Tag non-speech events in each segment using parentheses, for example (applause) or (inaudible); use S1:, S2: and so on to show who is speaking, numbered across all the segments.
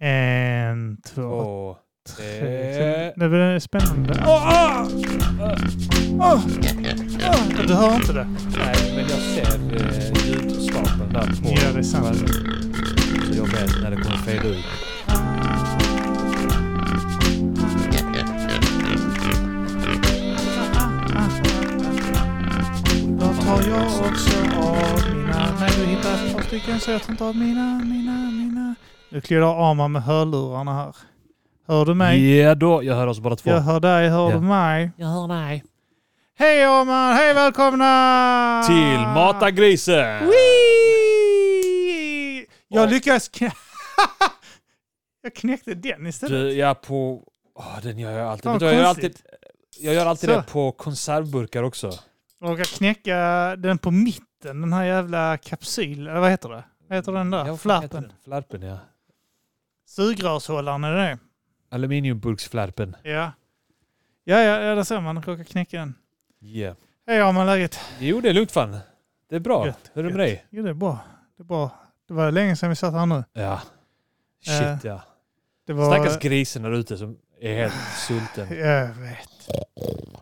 S1: En, två,
S2: Två, tre.
S1: tre. Det blir spännande. Åh, ah! Åh, åh. Du hör inte det?
S2: Nej, men jag ser eh, ljudstapeln där på.
S1: Ja, det är sant.
S2: Så jag vet när det kommer fel ut.
S1: Då tar jag också av mina... Nej, du hittar ett par stycken så jag tar inte av mina, mina, mina. Nu kliar Arman med hörlurarna här. Hör du mig?
S2: Ja då, jag hör oss båda två.
S1: Jag hör dig, hör
S2: Ja.
S1: du mig?
S2: Jag hör dig.
S1: Hej Arman, hej välkomna!
S2: Till Mata grisen!
S1: Wee! Jag
S2: Och-
S1: lyckades... knä- (laughs) jag knäckte den istället.
S2: Du, ja på... Åh, den gör jag alltid.
S1: Fan,
S2: Vet du vad, Jag gör alltid,
S1: konstigt.
S2: jag gör alltid
S1: Så.
S2: det på konservburkar också.
S1: Och jag knäcka den på mitten, den här jävla kapsyl... Eller vad heter det? Vad heter den där?
S2: Ja, vad fan heter
S1: Flärpen?
S2: den? Flärpen, ja.
S1: Sugrörshållaren, är det det?
S2: Aluminiumburksflärpen.
S1: Ja. Ja, ja, ja där ser man. Råkar knäcka den.
S2: Yeah.
S1: Hej, har man läget?
S2: Jo, det är lugnt fan. Det är bra.
S1: Gött,
S2: Hur är det med
S1: gött.
S2: dig?
S1: Jo, det är bra. Det är bra. Det var länge sedan vi satt här nu.
S2: Ja.
S1: Eh,
S2: Shit ja.
S1: Det var...
S2: Stackars grisen där ute som är helt
S1: (laughs)
S2: sulten.
S1: Jag vet.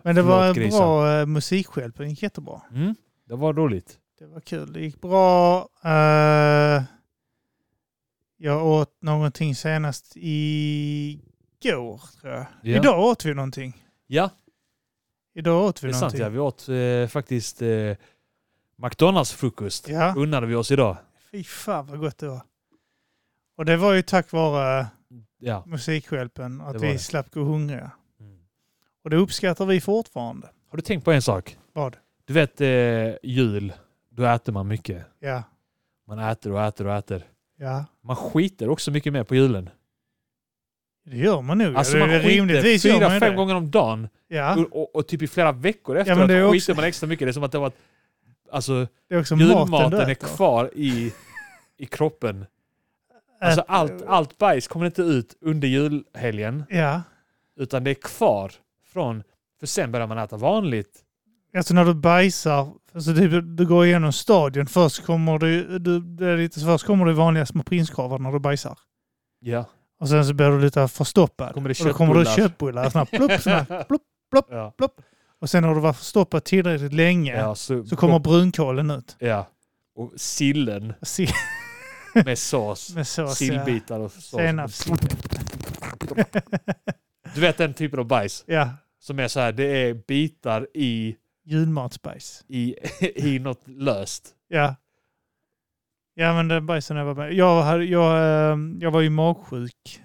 S1: Men det
S2: Förlåt,
S1: var en
S2: grisen.
S1: bra eh, musikskäl. Det gick jättebra.
S2: Mm? Det var roligt.
S1: Det var kul. Det gick bra. Eh, jag åt någonting senast igår, tror jag.
S2: Ja.
S1: Idag åt vi någonting.
S2: Ja,
S1: Idag åt vi
S2: det är sant.
S1: någonting.
S2: Ja. Vi åt eh, faktiskt eh, McDonalds-frukost.
S1: Ja.
S2: Unnade vi oss idag.
S1: Fy fan vad gott det var. Och det var ju tack vare
S2: Ja.
S1: Musikhjälpen,
S2: Det
S1: att
S2: var
S1: vi
S2: det.
S1: slapp gå hungriga. Och det uppskattar vi fortfarande.
S2: Har du tänkt på en sak?
S1: Vad?
S2: Du vet eh, jul, då äter man mycket.
S1: Ja,
S2: Man äter och äter och äter.
S1: ja.
S2: Man skiter också mycket mer på julen.
S1: Det gör man nog.
S2: Alltså
S1: det
S2: man
S1: är
S2: skiter
S1: rimligtvis gör man
S2: fyra,
S1: ju
S2: fem
S1: det.
S2: gånger om dagen.
S1: Ja,
S2: Och, och, och typ i flera veckor efteråt
S1: men det är också-
S2: skiter man extra mycket. Det är som att det var... Alltså,
S1: det är också maten du
S2: julmaten är
S1: äter.
S2: kvar i, i kroppen. Alltså
S1: Äter-
S2: allt, allt bajs kommer inte ut under julhelgen,
S1: Ja,
S2: utan det är kvar från... För sen börjar man äta vanligt.
S1: alltså när du bajsar, alltså du, du går igenom stadion. Först kommer du, du det är lite, så först kommer du i vanliga små prinskorvar när du bajsar.
S2: Ja.
S1: Och sen så blir du lite förstoppad.
S2: Kommer det
S1: och då kommer det
S2: köttbullar.
S1: köttbullar. Såna här, plopp, såna här, plopp.
S2: Ja.
S1: Och sen när du varit förstoppad tillräckligt länge
S2: ja så,
S1: så kommer brunkålen ut.
S2: Ja. Och sillen
S1: Se-
S2: med
S1: (laughs)
S2: sås.
S1: Med sås. ja.
S2: Sillbitar och sås.
S1: Senaps.
S2: Du vet den typen av bajs
S1: Ja,
S2: som är så här, det är bitar i,
S1: julmatsbajs.
S2: i, (laughs) i något löst.
S1: Ja. Ja men den bajsen jag var med. Jag, hade, jag, eh, jag var ju magsjuk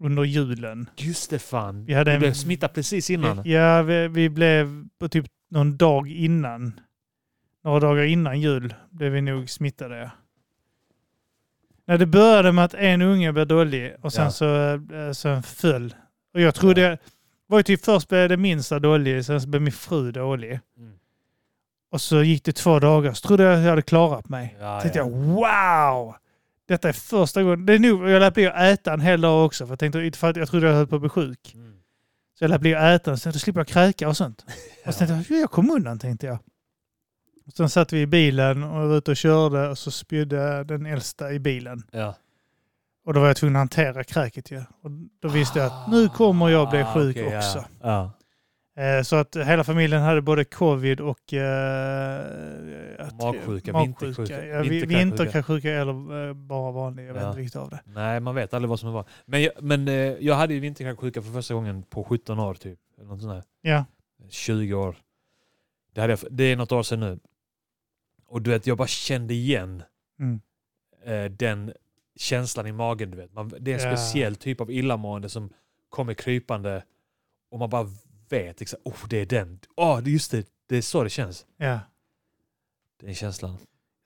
S1: under julen.
S2: Just det fan.
S1: Vi hade
S2: Du
S1: en...
S2: blev smittad precis innan.
S1: Ja, vi, vi blev på typ någon dag innan. Några dagar innan jul blev vi nog smittade. ja. Nej, det började med att en unge blev dålig och sen
S2: Ja.
S1: så eh, sen föll. Och jag trodde, jag var ju typ först blev det minsta dålig, sen så blev min fru dålig.
S2: Mm.
S1: Och så gick det två dagar, så trodde jag att jag hade klarat mig.
S2: Ja,
S1: tänkte
S2: ja.
S1: jag, wow! Detta är första gången. Det är nog, jag lät bli att äta en hel dag också, för jag, tänkte, inte för att jag trodde jag höll på att bli sjuk.
S2: Mm.
S1: Så jag lät bli att äta, så då slipper jag kräka och
S2: (laughs)
S1: sånt.
S2: Ja.
S1: Och sen tänkte jag, jag kom undan tänkte jag. Och sen satt vi i bilen och var ute och körde och så spydde den äldsta i bilen.
S2: Ja.
S1: Och då var jag tvungen att hantera kräket ju. Och då visste jag att nu kommer jag bli sjuk
S2: Ah, okej,
S1: också.
S2: Ja. Ja.
S1: Eh, Så att hela familjen hade både covid och... Eh, att-
S2: Magsjuka, vinterkräksjuka,
S1: Ja, vi-
S2: vinterkräksjuka.
S1: vinterkräksjuka eller eh, bara vanlig. Jag vet
S2: Ja.
S1: inte riktigt av det.
S2: Nej, man vet aldrig vad som är vad. Men jag, men, eh, jag hade ju vinterkräksjuka för första gången på 17 år typ. Eller något sånt där.
S1: Ja,
S2: 20 år. Det, hade jag, det är något år sedan nu. Och du vet, jag bara kände igen
S1: Mm.
S2: eh, den känslan i magen. Du vet. Man, det är en
S1: Ja.
S2: speciell typ av illamående som kommer krypande och man bara vet. Liksom, oh, det är den. Oh, just det, det är så det känns.
S1: ja.
S2: Den känslan.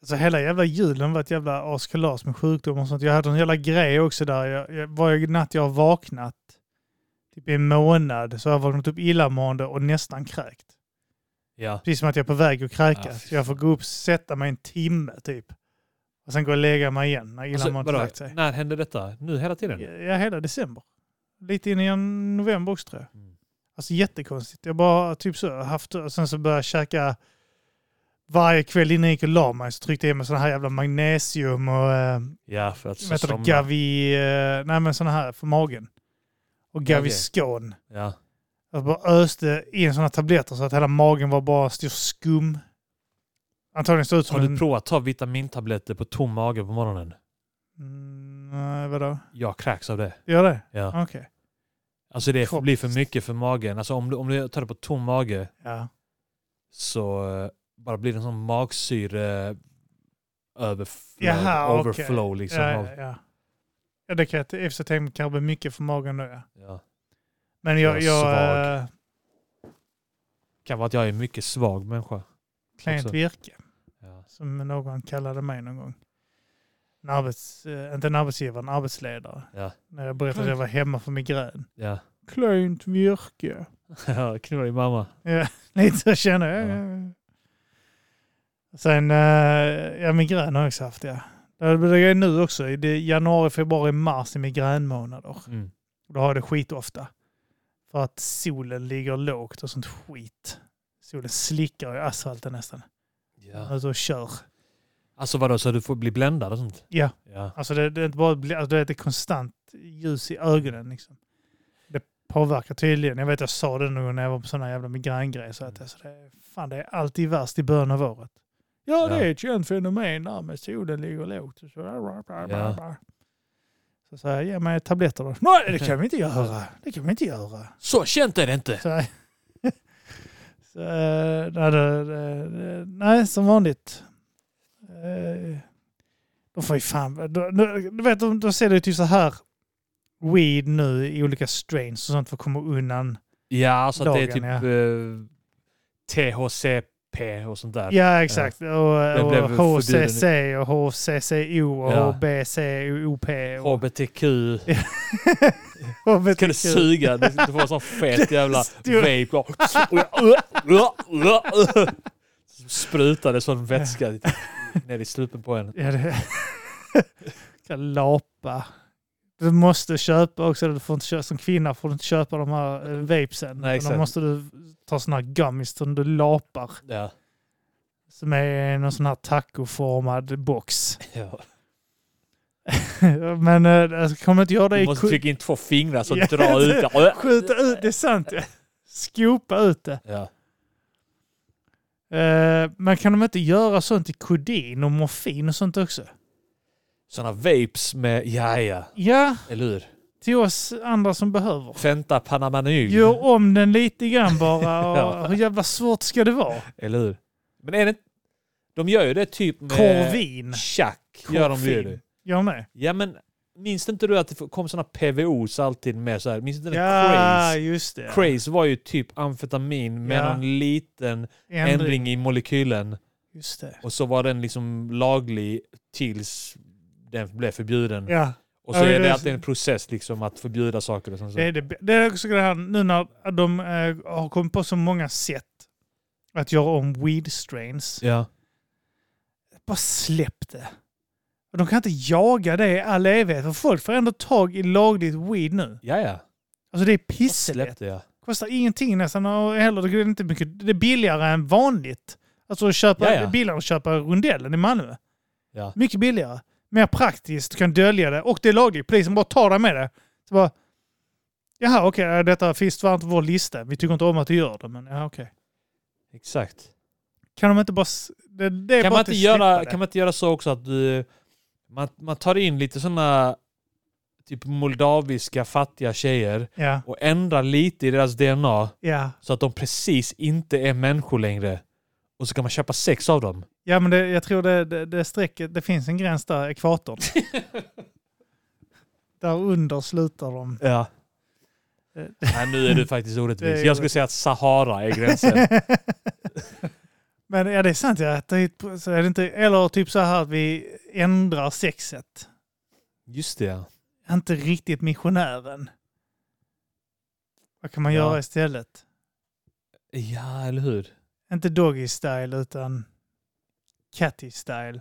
S1: Alltså hela jävla julen var ett jävla askalas med sjukdom och sånt. Jag hade en jävla grej också där. Jag, jag, varje natt jag har vaknat, typ i en månad, så har jag vaknat upp illamående och nästan kräkt.
S2: Ja.
S1: Precis som att jag är på väg att kräka.
S2: Ah, fy
S1: så jag får gå upp, sätta mig en timme typ. Och sen gå och lägga mig igen när
S2: Alltså,
S1: illamåendet
S2: vadå,
S1: lagt sig.
S2: när hände detta? Nu hela tiden?
S1: Ja, hela december. Lite in i november också tror jag.
S2: Mm.
S1: Alltså jättekonstigt. Jag bara typ så haft och sen så började jag käka varje kväll innan jag gick och la mig så tryckte jag i mig sådana här jävla magnesium och eh,
S2: Ja, för att
S1: vad heter det,
S2: somna.
S1: Gavi, eh, nej men sådana här för magen. Och Gaviscon.
S2: Ja.
S1: Jag bara öste in sådana tabletter så att hela magen var bara stor skum. Antagligen såg ut som
S2: Har du
S1: en...
S2: provat att ta vitamintabletter på tom mage på morgonen?
S1: Mm, nej, vadå?
S2: Jag kräks av det.
S1: Gör det?
S2: Ja.
S1: Okej.
S2: Alltså det
S1: Kropp.
S2: blir för mycket för magen. Alltså om du, om du tar det på tom mage
S1: Ja.
S2: så eh, bara blir det en sån magsyre överflow,
S1: Jaha, okej.
S2: overflow liksom.
S1: Ja,
S2: av-
S1: ja, ja. ja, det kan jag i och för sig tänka mig kanske mycket för magen då. Ja.
S2: Ja.
S1: Men jag...
S2: Jag är
S1: jag
S2: svag.
S1: eh,
S2: Kan vara att jag är en mycket svag människa.
S1: klent
S2: Också.
S1: virke,
S2: Ja.
S1: som någon kallade mig någon gång. En arbets, eh, inte en arbetsgivare, en arbetsledare.
S2: Ja.
S1: När jag berättade att jag var hemma för migrän. (laughs)
S2: Ja.
S1: Klent virke.
S2: Ja, Knulla din mamma.
S1: Ja, (laughs) lite så känner jag. Ja. Sen, eh, ja migrän har jag också haft ja. Det blir nu också. Det är januari, februari, mars i migränmånader.
S2: Mm.
S1: Då har jag det skitofta. För att solen ligger lågt och sånt skit. Solen slickar i asfalten nästan.
S2: Ja.
S1: Alltså och kör.
S2: Alltså vadå, så du får bli bländad och sånt?
S1: Ja.
S2: Ja.
S1: Alltså det, det är inte bara bli- alltså det är ett konstant ljus i ögonen liksom. Det påverkar tydligen. Jag vet jag sa det någon gång när jag var på sådana jävla migrängrejer. Så
S2: Mm.
S1: att alltså det, är- fan det är alltid värst i början av året. Ja, det
S2: Ja.
S1: är ett känt fenomen där med solen ligger lågt. och Så,
S2: Ja.
S1: så sa jag, ge mig tabletter då. Nej, det kan vi inte göra. Det kan vi inte göra.
S2: Så känt är det inte!
S1: Så, (laughs) så, eh, nej, det, det, det, nej, som vanligt. Eh, De får ju fan... då- nu- Du vet, de, de ser det ju typ så här weed nu i olika strains och sånt för att komma undan.
S2: Ja, alltså att det är
S1: Dagen,
S2: typ
S1: ja.
S2: eh, THCP och sånt där.
S1: Ja, exakt. Och,
S2: Den blev
S1: och HCC
S2: förbjuden
S1: och HCCO och
S2: Ja.
S1: HBCOP. och-
S2: HBTQ.
S1: (laughs) HBTQ.
S2: Kan du suga? Du du får en sån fet jävla
S1: stor-
S2: vape. Och jag- Sprutade sån vätska ner i strupen på en.
S1: Ja, det... (laughs) kan lapa. Du måste köpa också, du får inte köpa, som kvinna får du inte köpa de här eh, vapesen.
S2: Nej,
S1: Utan
S2: exakt.
S1: Då måste du ta sådana här gummies som du lapar.
S2: Ja.
S1: Som är någon sån här tacoformad box. (laughs)
S2: Ja.
S1: Men eh, alltså, kommer inte göra det
S2: Du
S1: i...
S2: måste
S1: Ku-
S2: trycka in två fingrar så
S1: Ja,
S2: dra ut det.
S1: skjuta ut, det är sant. ja. Skopa ut det.
S2: Ja.
S1: Eh, men kan de inte göra sånt i kodin och morfin och sånt också?
S2: Såna vapes med, ja ja,
S1: Ja,
S2: eller hur?
S1: till oss andra som behöver.
S2: Fenta Panamanyl,
S1: Gör om den lite grann
S2: (laughs)
S1: bara. Och
S2: Mm. Ja.
S1: Hur jävla svårt ska det vara?
S2: eller hur? Men är det inte- De gör ju det typ med...
S1: Korvin.
S2: Tjack gör de ju
S1: Korvin.
S2: det.
S1: Jag med.
S2: Ja men, minns inte du att det kom såna PVOs alltid med så här? Minns inte den
S1: Ja,
S2: craze?
S1: just det.
S2: Craze var ju typ amfetamin med
S1: Ja.
S2: någon liten
S1: Ändring.
S2: ändring i molekylen.
S1: Just det.
S2: Och så var den liksom laglig tills den blev förbjuden.
S1: Ja,
S2: Och så
S1: Ja,
S2: är
S1: det-
S2: det alltid en process liksom att förbjuda saker och sånt.
S1: det är, det, det är också det här nu när de eh, har kommit på så många sätt att göra om weed strains.
S2: Ja.
S1: Bara släpp det. Och de kan inte jaga det i all evighet. För folk får ändå tag i lagligt weed nu.
S2: Ja, ja.
S1: Alltså det är
S2: Jag
S1: pisselätt.
S2: Släppte jag.
S1: Kostar ingenting nästan. Och heller, det, är inte mycket, det är billigare än vanligt. Alltså att köpa,
S2: Ja, ja.
S1: billigare att köpa rondellen i Malmö.
S2: Ja.
S1: Mycket billigare. Mer praktiskt. Du kan dölja det. Och det är lagligt. Polisen bara tar dig med det. Så bara, Jaha, okej. ja, detta finns tyvärr inte på vår lista. Vi tycker inte om att du gör det, men ja, okej.
S2: Exakt.
S1: Kan de inte bara... s- Det, det är
S2: Kan
S1: bara
S2: man,
S1: att
S2: inte
S1: släppa
S2: göra,
S1: det.
S2: kan man inte göra så också att du, man, man tar in lite sådana typ moldaviska fattiga tjejer
S1: Ja,
S2: och ändrar lite i deras DNA
S1: ja.
S2: så att de precis inte är människor längre. Och så kan man köpa sex av dem.
S1: ja, men det, jag tror det, det, det strecket... Det finns en gräns där,
S2: (laughs)
S1: ekvatorn. där under slutar de.
S2: Ja. Nej, nu är du faktiskt
S1: Eh, Det
S2: orättvis.
S1: är
S2: Jag skulle säga att Sahara är
S1: (laughs)
S2: gränsen.
S1: men ja, det är sant. Ja, att det, är- så är det inte, eller typ så här att vi ändrar sexet.
S2: Just det, ja.
S1: inte riktigt missionären. Vad kan man
S2: Ja.
S1: göra istället?
S2: Ja, eller hur?
S1: Inte doggy style utan catty style.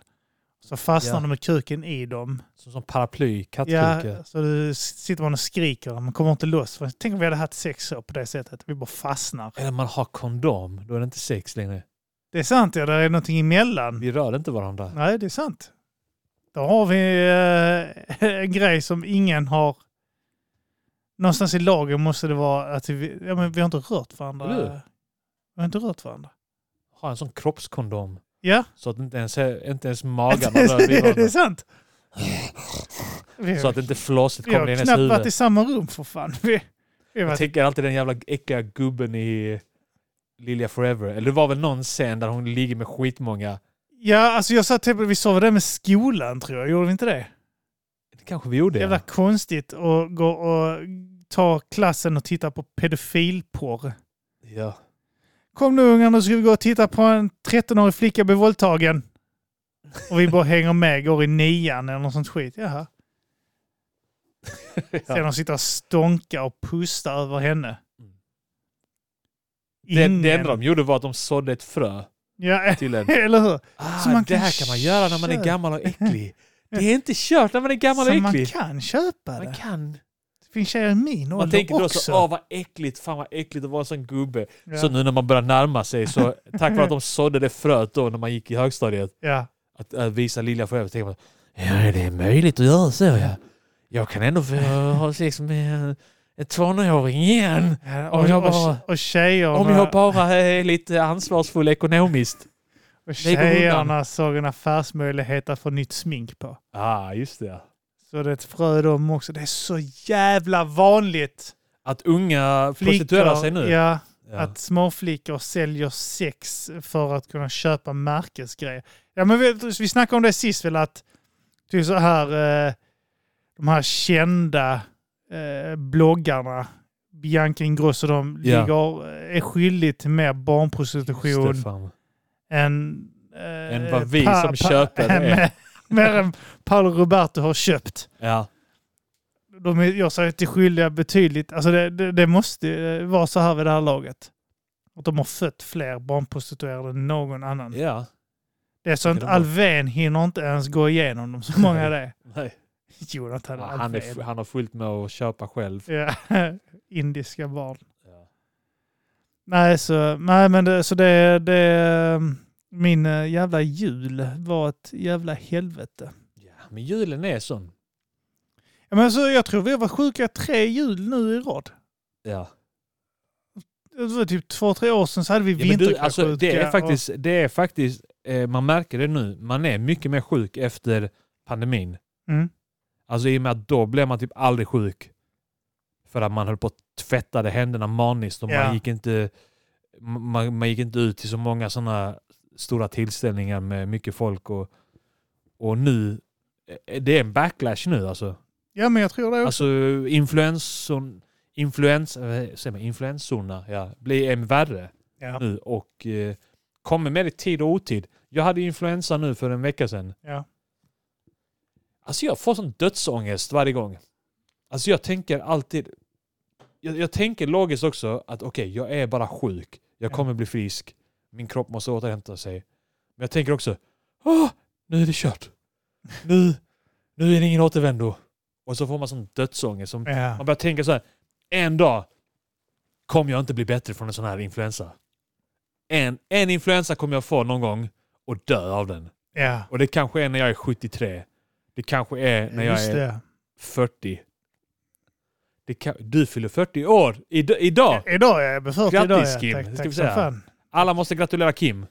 S1: Så fastnar
S2: Ja.
S1: de med kuken i dem.
S2: Som, som paraply, kattkuka.
S1: Ja, så du s- sitter man och skriker man kommer inte loss. För Tänk om vi hade haft sex år på det sättet. Vi bara fastnar.
S2: Eller man har kondom, då är det inte sex längre.
S1: Det är sant, ja. Där är någonting emellan.
S2: Vi rör inte varandra.
S1: Nej, det är sant. Då har vi eh, (laughs) en grej som ingen har... Någonstans i lagen måste det vara att vi, ja, men vi har inte rört varandra.
S2: Eller hur?
S1: Vi har inte rört varandra.
S2: Ha en sån kroppskondom.
S1: Ja,
S2: Så att inte ens, inte
S1: (laughs)
S2: ens
S1: det,
S2: magarna rör vid
S1: är
S2: varandra.
S1: sant. Vi,
S2: Så att inte flåset
S1: vi har
S2: kommer in i
S1: knappt
S2: ens
S1: varit i
S2: huvud.
S1: samma rum för fan. Vi, vi har
S2: Jag
S1: varit,
S2: tänker alltid den jävla äckliga gubben i Lilja Forever. Eller det var väl någon scen där hon ligger med skitmånga.
S1: ja, alltså jag sa typ, vi sov där med skolan tror jag. Gjorde vi inte det?
S2: Det kanske vi gjorde.
S1: Jävla
S2: ja.
S1: konstigt att gå och ta klassen och titta på pedofilporr.
S2: Ja.
S1: Kom nu ungar, nu ska vi gå och titta på en 13-årig flicka bli våldtagen. Och vi bara hänger med, går i nian eller något sånt skit.
S2: (laughs)
S1: Jaha. Sen de sitter och stånkar och pustar över henne.
S2: Mm. Det, det enda
S1: Ingen-
S2: de gjorde var att de sådde ett frö
S1: Ja, (laughs)
S2: till en.
S1: eller hur?
S2: (laughs) Ah,
S1: Så man
S2: det
S1: kan
S2: här kan man göra när man är
S1: köpa-
S2: gammal och äcklig. Det är inte kört när man är gammal och
S1: Så man
S2: äcklig.
S1: kan köpa
S2: Man
S1: det.
S2: kan.
S1: Det finns tjejer i min
S2: Man
S1: ålder
S2: tänker då
S1: också.
S2: så, åh vad äckligt, fan vad äckligt att vara en sån gubbe.
S1: ja.
S2: Så nu när man börjar närma sig, så (laughs) tack vare att de sådde det fröet då när man gick i högstadiet,
S1: ja.
S2: att, att visa Lilja Forever, så tänker man ja det är möjligt att göra så ja. Jag kan ändå få ha sex med en- en tonåring igen.
S1: Ja,
S2: Om
S1: Och,
S2: jag
S1: och,
S2: bara-
S1: och, tjejerna,
S2: Om jag bara är lite ansvarsfull ekonomiskt.
S1: och
S2: lägger undan.
S1: tjejerna såg en affärsmöjlighet att få nytt smink på.
S2: Ah, just det.
S1: Så det är ett frö i dem också. Det är så jävla vanligt.
S2: Att unga prostituerar sig nu.
S1: Ja,
S2: Ja.
S1: att småflickor säljer sex för att kunna köpa märkesgrejer. Ja, men vi, vi snackade om det sist väl att det är så här, eh, de här kända eh, bloggarna, Bianca Ingrosso, de
S2: Ja.
S1: ligger, eh, är skyldig till mer barnprostitution
S2: Just det, fan.
S1: än, eh,
S2: Än vad vi som köper det
S1: än-
S2: är.
S1: (laughs) mer än Paolo Roberto har köpt
S2: Ja.
S1: de är, jag säger till skyldiga betydligt. Alltså det, det, det måste ju vara så här vid det här laget. Att de har fött fler barnprostituerade än någon annan.
S2: ja.
S1: Det är sånt
S2: det var-
S1: Alven hinner inte ens gå igenom dem,
S2: (laughs)
S1: så många det är.
S2: Nej.
S1: Jonathan
S2: Ja, Han, är,
S1: Alfvén.
S2: han har fullt med att köpa själv.
S1: Ja, (laughs) indiska barn.
S2: Ja.
S1: Nej, så, nej men det, så det, det... Min eh, jävla jul var ett jävla helvete.
S2: Ja, men julen är sån.
S1: Ja, Men alltså, jag tror vi har varit sjuka tre jul nu i rad.
S2: Ja.
S1: Det var typ två, tre år sedan så hade vi
S2: Ja, men du,
S1: vinterkräksjuka.
S2: alltså, det är
S1: och-
S2: faktiskt, det är faktiskt eh, man märker det nu, man är mycket mer sjuk efter pandemin.
S1: Mm.
S2: Alltså i och med att då blev man typ aldrig sjuk. För att man höll på att tvättade händerna maniskt och
S1: Ja.
S2: man, gick inte, man, man gick inte ut till så många sådana stora tillställningar med mycket folk. Och, och nu, eh, det är en backlash nu alltså.
S1: Ja, men jag tror det också.
S2: Alltså influenson, influens, eh, säger man, influensorna ja, blir än värre
S1: Ja.
S2: nu och eh, kommer med det i tid och otid. Jag hade influensa nu för en vecka sedan.
S1: Ja.
S2: Alltså jag får sån dödsångest varje gång. Alltså jag tänker alltid, jag, jag tänker logiskt också att okej, jag är bara sjuk. Jag
S1: Ja.
S2: kommer bli frisk. Min kropp måste återhämta sig. Men jag tänker också, Åh, nu är det kört. Nu, nu är det ingen återvändo. Och så får man sån dödsångest. Som,
S1: Ja.
S2: man börjar tänka så här, en dag kommer jag inte bli bättre från en sån här influensa. En, en influensa kommer jag få någon gång och dö av den.
S1: ja.
S2: Och det kanske är när jag är 73. Det kanske är när jag
S1: Just
S2: är
S1: det.
S2: 40. Det kan, du fyller 40 år i, idag!
S1: Idag är jag befört. idag är jag.
S2: Grattis, Kim.
S1: Tack,
S2: Det
S1: tack
S2: ska vi
S1: som
S2: säga.
S1: fan.
S2: Alla måste gratulera Kim.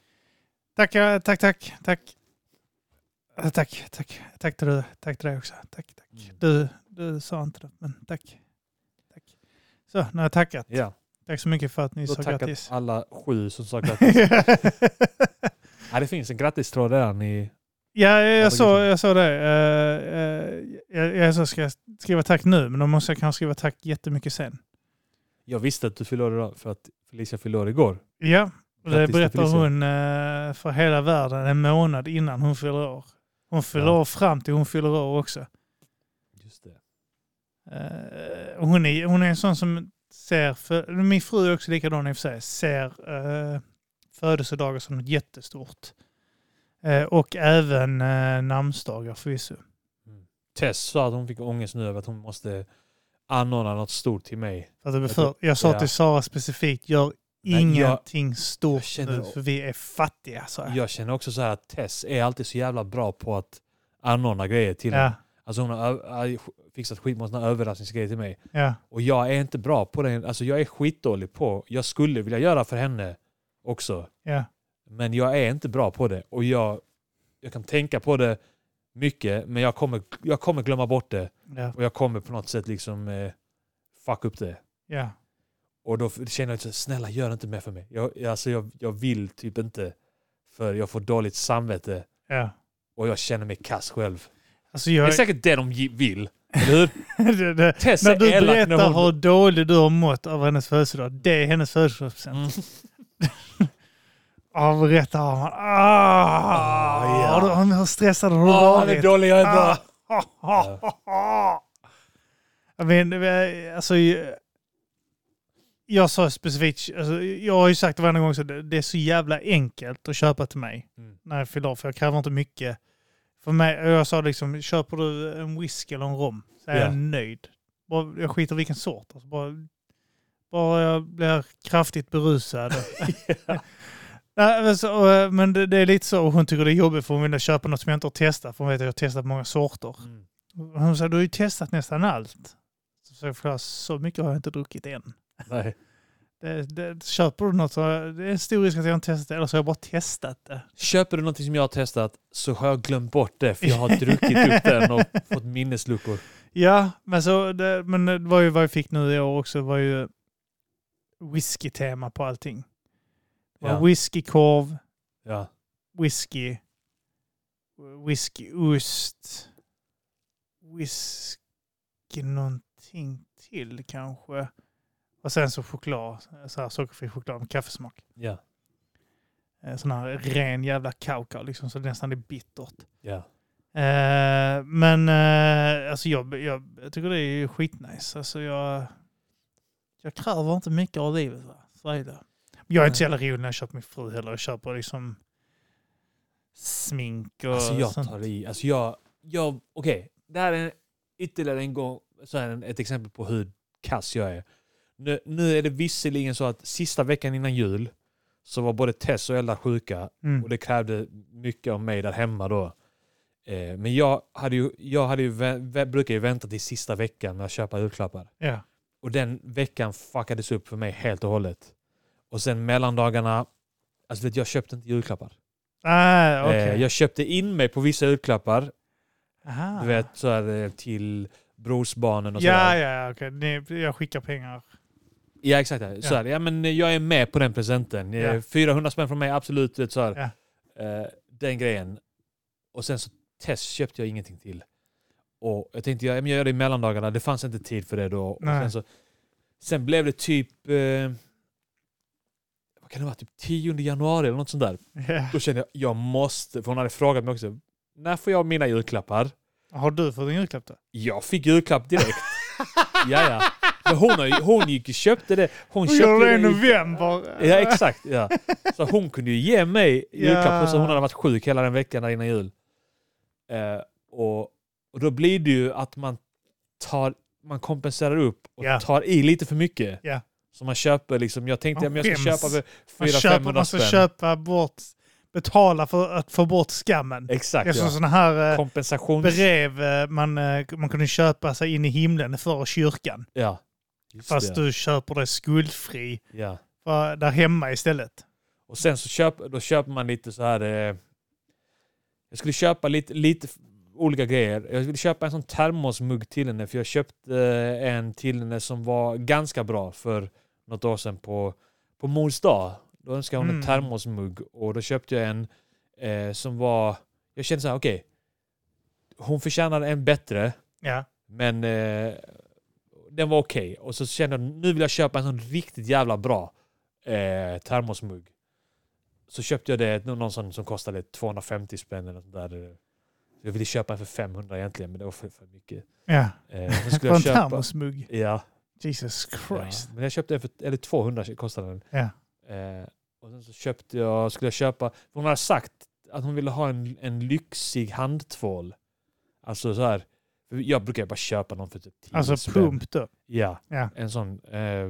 S1: Tack, ja, tack, tack, tack. Eh, Tack, tack, tack till dig, tack till dig också. Tack, tack.
S2: Mm.
S1: Du, du sa inte det, men tack. tack. Så, nu har jag tackat.
S2: Ja,
S1: Tack så mycket för att ni
S2: då
S1: sa
S2: tackat
S1: grattis.
S2: alla sju som sa grattis. ja, det finns en grattistråd redan i...
S1: (laughs) ja, jag,
S2: Ja,
S1: jag, såg,
S2: tack.
S1: jag såg det. Eh, eh, jag jag så ska jag skriva tack nu, men då måste jag kanske skriva tack jättemycket sen.
S2: Jag visste att du fyller år idag för att Felicia fyller år igår.
S1: Ja, och det
S2: Grattis till
S1: berättar
S2: Felicia.
S1: hon eh, för hela världen en månad innan hon fyller år. Hon fyller
S2: Ja.
S1: år fram till hon fyller år också.
S2: Just det.
S1: Eh, och hon, är, hon är en sån som ser, för, min fru är också likadan i och för sig, ser eh, födelsedagar som något jättestort. Eh, och även eh, namnsdagar förvisso.
S2: Tess sa att hon fick ångest nu över att hon måste anordna något stort till mig.
S1: För att det blir
S2: Jag tror-
S1: för, jag sa
S2: ja.
S1: till Sara specifikt, gör
S2: Men jag-
S1: ingenting stort
S2: jag känner-
S1: nu för vi är fattiga. Så här.
S2: Jag känner också så här att Tess är alltid så jävla bra på att anordna grejer till mig.
S1: Ja,
S2: Alltså hon har ö- ö- fixat skitmånga såna överraskningsgrejer till mig.
S1: ja,
S2: Och jag är inte bra på det. Alltså jag är skitdålig på, jag skulle vilja göra för henne också.
S1: ja,
S2: Men jag är inte bra på det. Och jag, jag kan tänka på det mycket, men jag kommer, jag kommer glömma bort det.
S1: ja,
S2: Och jag kommer på något sätt liksom eh, fuck upp det.
S1: ja.
S2: Och då f- känner jag så här, snälla gör inte mer för mig. Jag, jag- alltså jag, jag vill typ inte. För jag får dåligt samvete
S1: ja.
S2: och jag känner mig kass själv.
S1: Alltså
S2: Det är
S1: jag,
S2: säkert det de gi- vill. Eller
S1: (laughs)
S2: hur?
S1: det, det,
S2: Tess
S1: när
S2: är
S1: du
S2: elak när
S1: berättar
S2: hon...
S1: hur dålig du har mått av hennes födelsedag, det är hennes födelsedagspresent.
S2: Mm.
S1: (laughs) Avrättar man. Ah,
S2: Ah, ja.
S1: du- Hur stressad har du
S2: Ah, han är
S1: varit?
S2: dålig, jag är bra.
S1: Ah, ah, ah, ah, ah. (laughs) Jag vet inte, eh, alltså, eh, jag sa specifikt, alltså, jag har ju sagt varje gång så det, det är så jävla enkelt att köpa till mig
S2: Mm.
S1: när jag fyller år, för jag kräver inte mycket. För mig, och jag sa liksom, köper du en whisky eller en rom så är
S2: Ja.
S1: jag nöjd. Bara, jag skiter vilken sort. Alltså, bara, bara jag blir kraftigt berusad. Nej, men, så, eh, men det, det är lite så, och hon tycker det är jobbigt för hon vill köpa något som jag inte har testat, för hon vet att jag har testat många sorter.
S2: Mm.
S1: Hon sa, du har ju testat nästan allt. Så jag förklarar, så mycket har jag inte druckit än.
S2: Nej.
S1: Det, det, köper du något så det är en stor risk att jag inte testat det, eller så har jag bara testat det.
S2: Köper du någonting som jag har testat så har jag glömt bort det för jag har druckit upp den och fått minnesluckor.
S1: Ja, men, så, det, men det var ju vad jag fick nu i år också, var ju whisky-tema på allting. Det var
S2: Ja.
S1: Whiskykorv,
S2: Ja.
S1: whisky, whiskyost, whisky någonting till kanske. Och sen så choklad, så här sockerfri choklad med kaffesmak.
S2: Ja.
S1: Eh, Sån här ren jävla kakao liksom, så det nästan är bittert.
S2: Ja.
S1: Eh, men eh, alltså jag, jag, jag tycker det är skitnice. Alltså jag, jag kräver inte mycket av livet. Va? Så är det. Men Jag är inte så jävla rolig när jag köper min fru heller. Jag köper liksom smink och
S2: Alltså jag
S1: sånt.
S2: tar i. Alltså jag, jag okej. Det här är ytterligare en gång så här en- ett exempel på hur kass jag är. Nu, nu är det visserligen så att sista veckan innan jul så var både Tess och Ella sjuka
S1: Mm.
S2: och det krävde mycket av mig där hemma då. Eh, men jag, hade ju, jag hade ju vä- vä- brukar ju vänta till sista veckan med att köpa julklappar.
S1: Ja.
S2: Och den veckan fuckades upp för mig helt och hållet. Och sen mellandagarna, alltså vet, du, jag köpte inte julklappar.
S1: Ah, okej.
S2: Eh, jag köpte in mig på vissa julklappar.
S1: Aha.
S2: Du vet, så här, eh, till brorsbarnen och
S1: Ah. Ja,
S2: sådär.
S1: ja, okej. Ni- Jag skickar pengar. (laughs)
S2: Ja, exakt. Så här, ja, men eh, jag är med på den presenten. Eh,
S1: Ja.
S2: 400 spänn från mig, absolut. du Vet, så här.
S1: Ja.
S2: Eh, den grejen. Och sen så test köpte jag ingenting till. Och jag tänkte ja, men jag gör det i mellandagarna. Det fanns inte tid för det då. Och
S1: Nej.
S2: sen, så, sen blev det typ... Eh, vad kan det vara? Typ 10 januari eller något sånt där.
S1: Ja.
S2: Då kände jag jag måste... För hon hade frågat mig också. När får jag mina julklappar?
S1: Har du fått en julklapp då?
S2: Jag fick
S1: (laughs)
S2: julklapp direkt. ja, ja. Men hon, har ju- hon gick och köpte det. Hon
S1: Hon
S2: köpte
S1: gjorde det i
S2: det i-
S1: november.
S2: Ja, exakt. Ja. Så hon kunde ju ge mig
S1: Ja.
S2: julklapp trots att hon hade varit sjuk hela den veckan där innan jul. Eh, och, och då blir det ju att man, tar, man kompenserar upp och
S1: Ja.
S2: tar i lite för mycket.
S1: Ja.
S2: Så man köper liksom, jag tänkte
S1: Man
S2: att jag ska
S1: skäms.
S2: köpa för
S1: man, köper,
S2: 400-500
S1: man ska
S2: spänn.
S1: köpa bort, betala för att få bort skammen.
S2: Exakt,
S1: Eftersom
S2: ja.
S1: sådana här eh,
S2: Kompensations...
S1: brev eh, man, eh, man kunde köpa sig in i himlen för kyrkan.
S2: Ja. Just
S1: Fast
S2: det.
S1: du köper det skuldfri
S2: Ja.
S1: eh, där hemma istället.
S2: Och sen så köp, då köper man lite så här... Eh, jag skulle köpa lite, lite f- olika grejer. Jag skulle köpa en sån termosmugg till henne för jag köpte eh, en till henne som var ganska bra för något år sedan på, på mors dag. Då önskade hon en
S1: Mm.
S2: termosmugg och då köpte jag en eh, som var... Jag kände så här, okej. hon förtjänar en bättre.
S1: Ja.
S2: Men eh, den var okej. Och så kände jag nu vill jag köpa en sån riktigt jävla bra eh, termosmugg. Så köpte jag det, någon sån som kostade 250 spänn eller något där. Jag ville köpa en för 500 egentligen, men det var för, för mycket.
S1: ja.
S2: Eh, så skulle
S1: För en
S2: jag köpa...
S1: termosmugg.
S2: Ja,
S1: Jesus
S2: ja,
S1: Christ.
S2: men jag köpte en för, eller 200 kostade den.
S1: Ja.
S2: Eh, och sen så köpte jag, skulle jag köpa, för hon hade sagt att hon ville ha en, en lyxig handtvål. Alltså så här, för jag brukar ju bara köpa någon för typ 10
S1: Alltså
S2: spänn.
S1: pump då.
S2: Ja,
S1: Ja.
S2: en sån eh,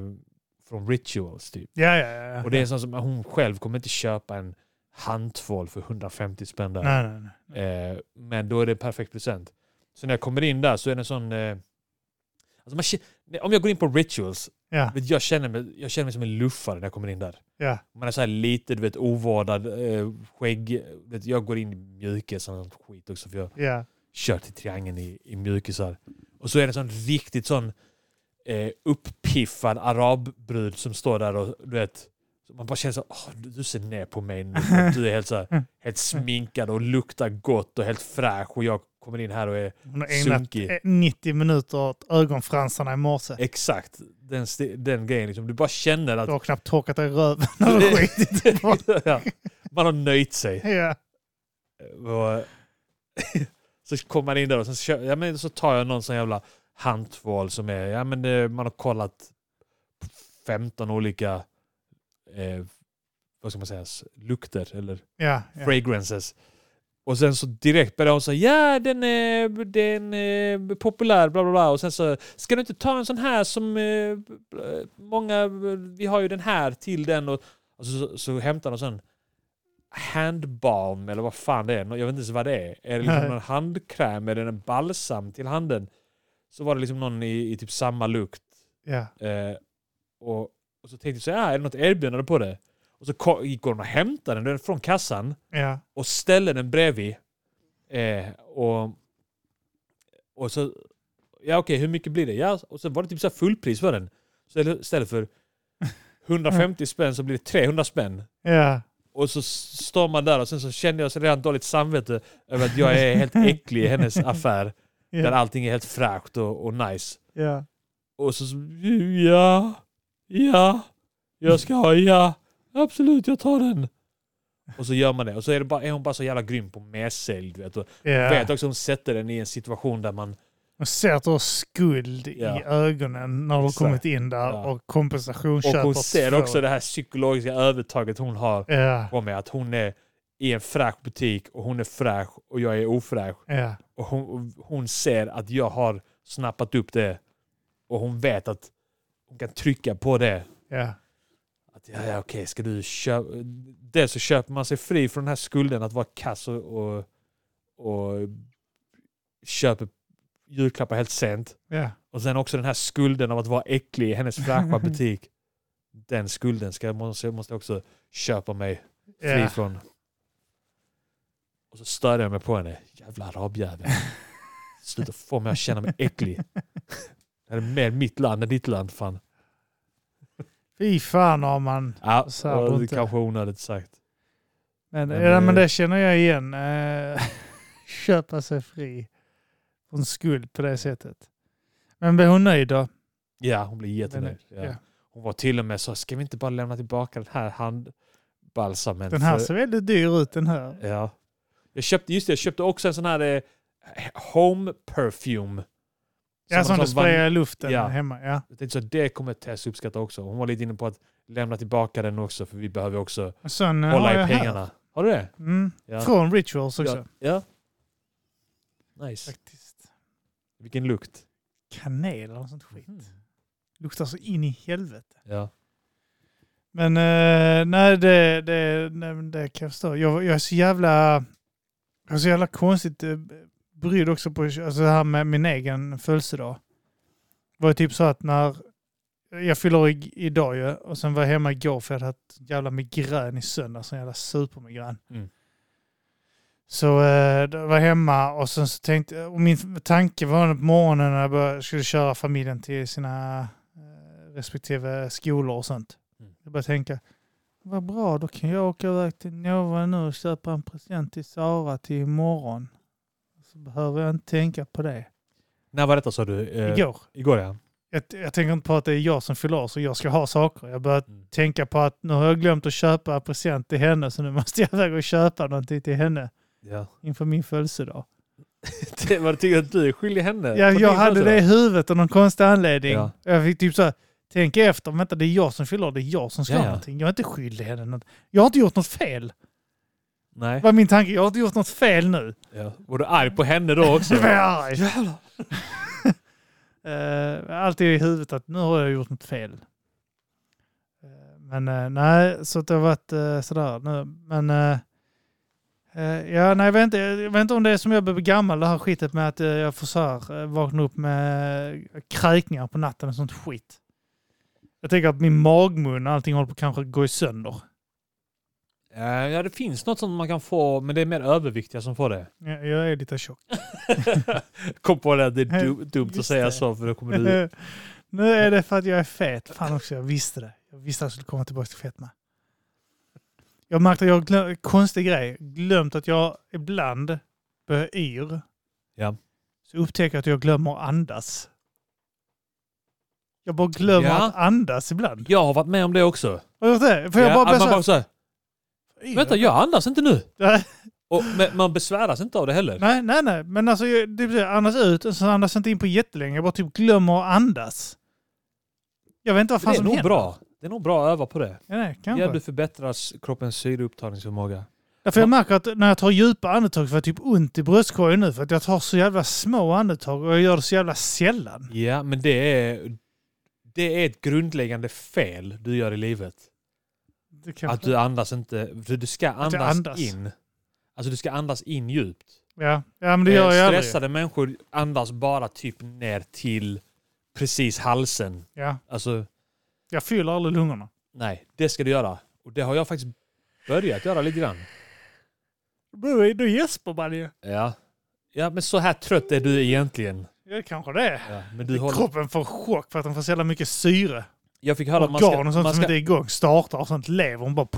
S2: från Rituals typ.
S1: Ja, ja, ja. ja.
S2: Och det är sånt som hon själv kommer inte köpa en handtvål för 150 spänn där.
S1: Nej, nej, nej.
S2: Eh, men då är det en perfekt present. Så när jag kommer in där så är det en sån... Eh, alltså man, kä- Nej, om jag går in på rituals,
S1: Ja,
S2: vet, jag känner, mig, jag känner mig som en luffare när jag kommer in där.
S1: ja.
S2: Man är så här lite, du vet, ovårdad, eh, skägg. Vet, jag går in i mjukis och sånt skit också för jag
S1: ja.
S2: kör till triangeln i, i mjukisar. Och så är det en sån riktigt sån eh, uppiffad arabbrud som står där och du vet, så man bara känner så åh, du, du ser ner på
S1: (laughs)
S2: mig nu. för att Du är helt, så här, helt sminkad och luktar gott och helt fräsch och jag kommer in här och är
S1: Hon har ägnat
S2: Sunkig.
S1: eh, 90 minuter åt ögonfransarna i morse.
S2: exakt den, sti- den grejen. Liksom. Du bara känner
S1: Du
S2: att
S1: har knappt torkat dig i
S2: (laughs)
S1: röven när du skitit på.
S2: ja, man har nöjt sig.
S1: Ja,
S2: Och, så kommer man in där och (laughs) sen kö- ja, men så tar jag någon sån jävla handtvål som är, ja men det, man har kollat 15 olika, eh, vad ska man säga, s- lukter eller
S1: ja. ja.
S2: fragrances. Och sen så direkt börjar hon säga ja den är, den är populär bla bla bla och sen så ska du inte ta en sån här som eh, många, vi har ju den här till den och, och så, så, så hämtar hon sån handbalm eller vad fan det är, jag vet inte ens vad det är. Är det liksom
S1: Nej.
S2: någon handkräm eller en balsam till handen? Så var det liksom någon i, i typ samma lukt
S1: ja.
S2: Eh, och, och så tänkte jag så här, "Ah, är det något erbjudande på det? Och så ko- gick hon och hämtade den från kassan
S1: ja.
S2: och ställde den bredvid. Eh, och, och så, ja okej, hur mycket blir det? Ja, och så var det typ så här fullpris för den. Så istället för 150 spänn så blir det 300 spänn.
S1: ja.
S2: Och så s- står man där och sen så kände jag så redan dåligt samvete över att jag är helt äcklig i hennes affär. Där
S1: ja.
S2: allting är helt fräscht och, och nice.
S1: ja.
S2: Och så så- ja, ja, jag ska ha ja, absolut jag tar den. Och så gör man det. Och så är, det bara, är hon bara så jävla grym på medsälj. Du vet. Och vet också hon sätter den i en situation där man,
S1: Och ser att du har skuld
S2: Ja.
S1: i ögonen när du har
S2: Exakt.
S1: kommit in där
S2: Ja.
S1: och kompensation
S2: och
S1: köper
S2: hon ser
S1: två.
S2: också det här psykologiska övertaget hon har
S1: Ja,
S2: på mig. Att hon är i en fräsch butik och hon är fräsch och jag är ofräsch.
S1: ja,
S2: Och hon, och hon ser att jag har snappat upp det. Och hon vet att hon kan trycka på det
S1: ja.
S2: Att ja, ja okej, ska du köpa... Dels så köper man sig fri från den här skulden att vara kass och, och, och köper julklappar helt sent.
S1: ja.
S2: Och sen också den här skulden av att vara äcklig i hennes
S1: (laughs)
S2: fräscha butik. Den skulden ska, måste, måste jag också köpa mig fri
S1: ja.
S2: från. Och så störde jag mig på henne.
S1: (laughs)
S2: Jävla arabjävel. Sluta få mig att känna mig äcklig. Det här är mer mitt land än ditt land fan.
S1: Fy fan har man.
S2: Ja,
S1: Så här
S2: och det
S1: inte.
S2: kanske onödigt sagt.
S1: Men,
S2: Men,
S1: ja, men
S2: eh,
S1: det känner jag igen. Eh, (laughs) Köpa sig fri från skuld på det sättet. Men blev hon nöjd då?
S2: Ja, hon blev jättenöjd.
S1: Den är-
S2: Ja.
S1: ja.
S2: Hon var till och med så, ska vi inte bara lämna tillbaka den här handbalsamen?
S1: Den här
S2: För-
S1: ser väldigt dyr ut den här.
S2: Ja. Jag köpte, just det, jag köpte också en sån här eh, home perfume.
S1: Ja, som
S2: man
S1: du
S2: tar van-
S1: sprayar i luften
S2: Ja.
S1: hemma. Ja.
S2: Jag tänkte så, det kommer Tess uppskatta också. Hon var lite inne på att lämna tillbaka den också för vi behöver också
S1: En Sån eh, har
S2: hålla i
S1: jag här.
S2: pengarna. Har du det?
S1: Mm.
S2: Ja.
S1: Från Rituals också.
S2: Ja. ja. Nice.
S1: Faktiskt.
S2: Vilken lukt. Mm.
S1: Kanel eller något sånt skit. Luktar så in i helvete.
S2: Ja.
S1: Men eh, nej, det, det, nej, men det kan jag förstå. Jag, jag är så jävla, jag är så jävla konstigt eh, brydd också på alltså det här med min egen födelsedag. Det var ju typ så att när jag fyller i, idag ju och sen var jag hemma igår för jag hade haft jävla migrän i söndags, en jävla supermigrän.
S2: Mm.
S1: Så eh, då var jag hemma och sen så tänkte och min tanke var på morgonen när jag började, skulle köra familjen till sina eh, respektive skolor och sånt.
S2: Mm.
S1: Jag började tänka, vad bra, då kan jag åka iväg till Nova nu och köpa en present till Sara till imorgon. Så behöver jag inte tänka på det.
S2: När var detta sa du? Eh,
S1: Igår.
S2: Igår ja.
S1: Jag, jag tänker inte på att det är jag som fyller år, så jag ska ha saker. Jag börjar
S2: Mm.
S1: tänka på att nu har jag glömt att köpa en present till henne så nu måste jag (laughs) iväg och köpa någonting till henne
S2: ja. (laughs)
S1: inför min födelsedag.
S2: Det- Vad tycker du att du är skyldig henne?
S1: Ja,
S2: Eh, På
S1: jag
S2: din
S1: hade det i
S2: födelsedag?
S1: huvudet av någon konstig anledning.
S2: Ja.
S1: Jag fick typ så här, tänka efter, vänta det är jag som fyller år, det är jag som ska
S2: Ja,
S1: ha
S2: ja.
S1: någonting. Jag är inte skyldig henne något. Jag har inte gjort något fel.
S2: Nej.
S1: var min tanke. Jag har inte gjort något fel nu.
S2: Ja. Var du arg på henne
S1: (laughs)
S2: då också?
S1: Så var jag arg. Eh, Alltid i huvudet att nu har jag gjort något fel. Men eh, nej, så att det har varit eh, sådär nu. Men eh, eh, ja, nej, jag, vet inte, jag vet inte om det är som jag blir gammal, det här skitet med att eh, jag får så här, eh, vakna upp med eh, kräkningar på natten och sånt skit. Jag tänker att min magmun och allting håller på att kanske gå sönder.
S2: Eh, Ja, det finns något som man kan få, men det är mer överviktiga som får det. (laughs)
S1: Jag, jag är lite tjock.
S2: Kom på det, att det är du, dumt att
S1: Just
S2: säga
S1: det.
S2: så, för då kommer du...
S1: (laughs) nu är det för att jag är fet. Fan också, jag visste det. Jag visste att jag skulle komma tillbaka till fetma. Jag märkte att jag har glöm- konstig grej. Glömt att jag ibland börjar yr.
S2: Ja.
S1: Så upptäcker jag att jag glömmer att andas. Jag bara glömmer
S2: Ja.
S1: att andas ibland.
S2: Jag har varit med om det också.
S1: Har du gjort det? För jag
S2: Ja,
S1: bara
S2: att
S1: blir
S2: man bara
S1: så
S2: såhär,
S1: här,
S2: vänta jag andas inte nu.
S1: Nej.
S2: Och, men man besväras inte av det heller.
S1: (laughs) Nej, nej, nej. Men alltså, jag, det betyder andas ut och så andas jag inte in på jättelänge. Jag bara typ glömmer att andas. Jag vet inte vad fan
S2: det är
S1: som
S2: nog
S1: händer.
S2: bra. Det är nog bra att öva på det.
S1: Ja, nej, kanske.
S2: Ja, du förbättrar kroppens syreupptagningsförmåga.
S1: Därför jag märker att när jag tar djupa andetag så får jag typ ont i bröstkorgen nu för att jag tar så jävla små andetag och jag gör det så jävla sällan.
S2: Ja, men det är, det är ett grundläggande fel du gör i livet.
S1: Det
S2: Att
S1: kanske-
S2: du andas inte. För du ska
S1: Att
S2: andas,
S1: jag andas.
S2: in. Alltså du ska andas in djupt.
S1: ja. ja, men det gör
S2: Eh,
S1: jag aldrig.
S2: Stressade människor andas bara typ ner till precis halsen.
S1: Ja.
S2: Alltså,
S1: Jag fyller aldrig lungorna.
S2: nej, det ska du göra. Och det har jag faktiskt börjat göra lite grann.
S1: Du, du gäspar man ju.
S2: Ja. Ja, men så här trött är du egentligen.
S1: Ja, kanske det.
S2: Ja, men du håller...
S1: Kroppen får chock för att den får så jävla mycket syre.
S2: Jag fick höra att man ska,
S1: Organ och sånt
S2: man
S1: som
S2: ska,
S1: inte är igång startar och sånt lever. Hon bara...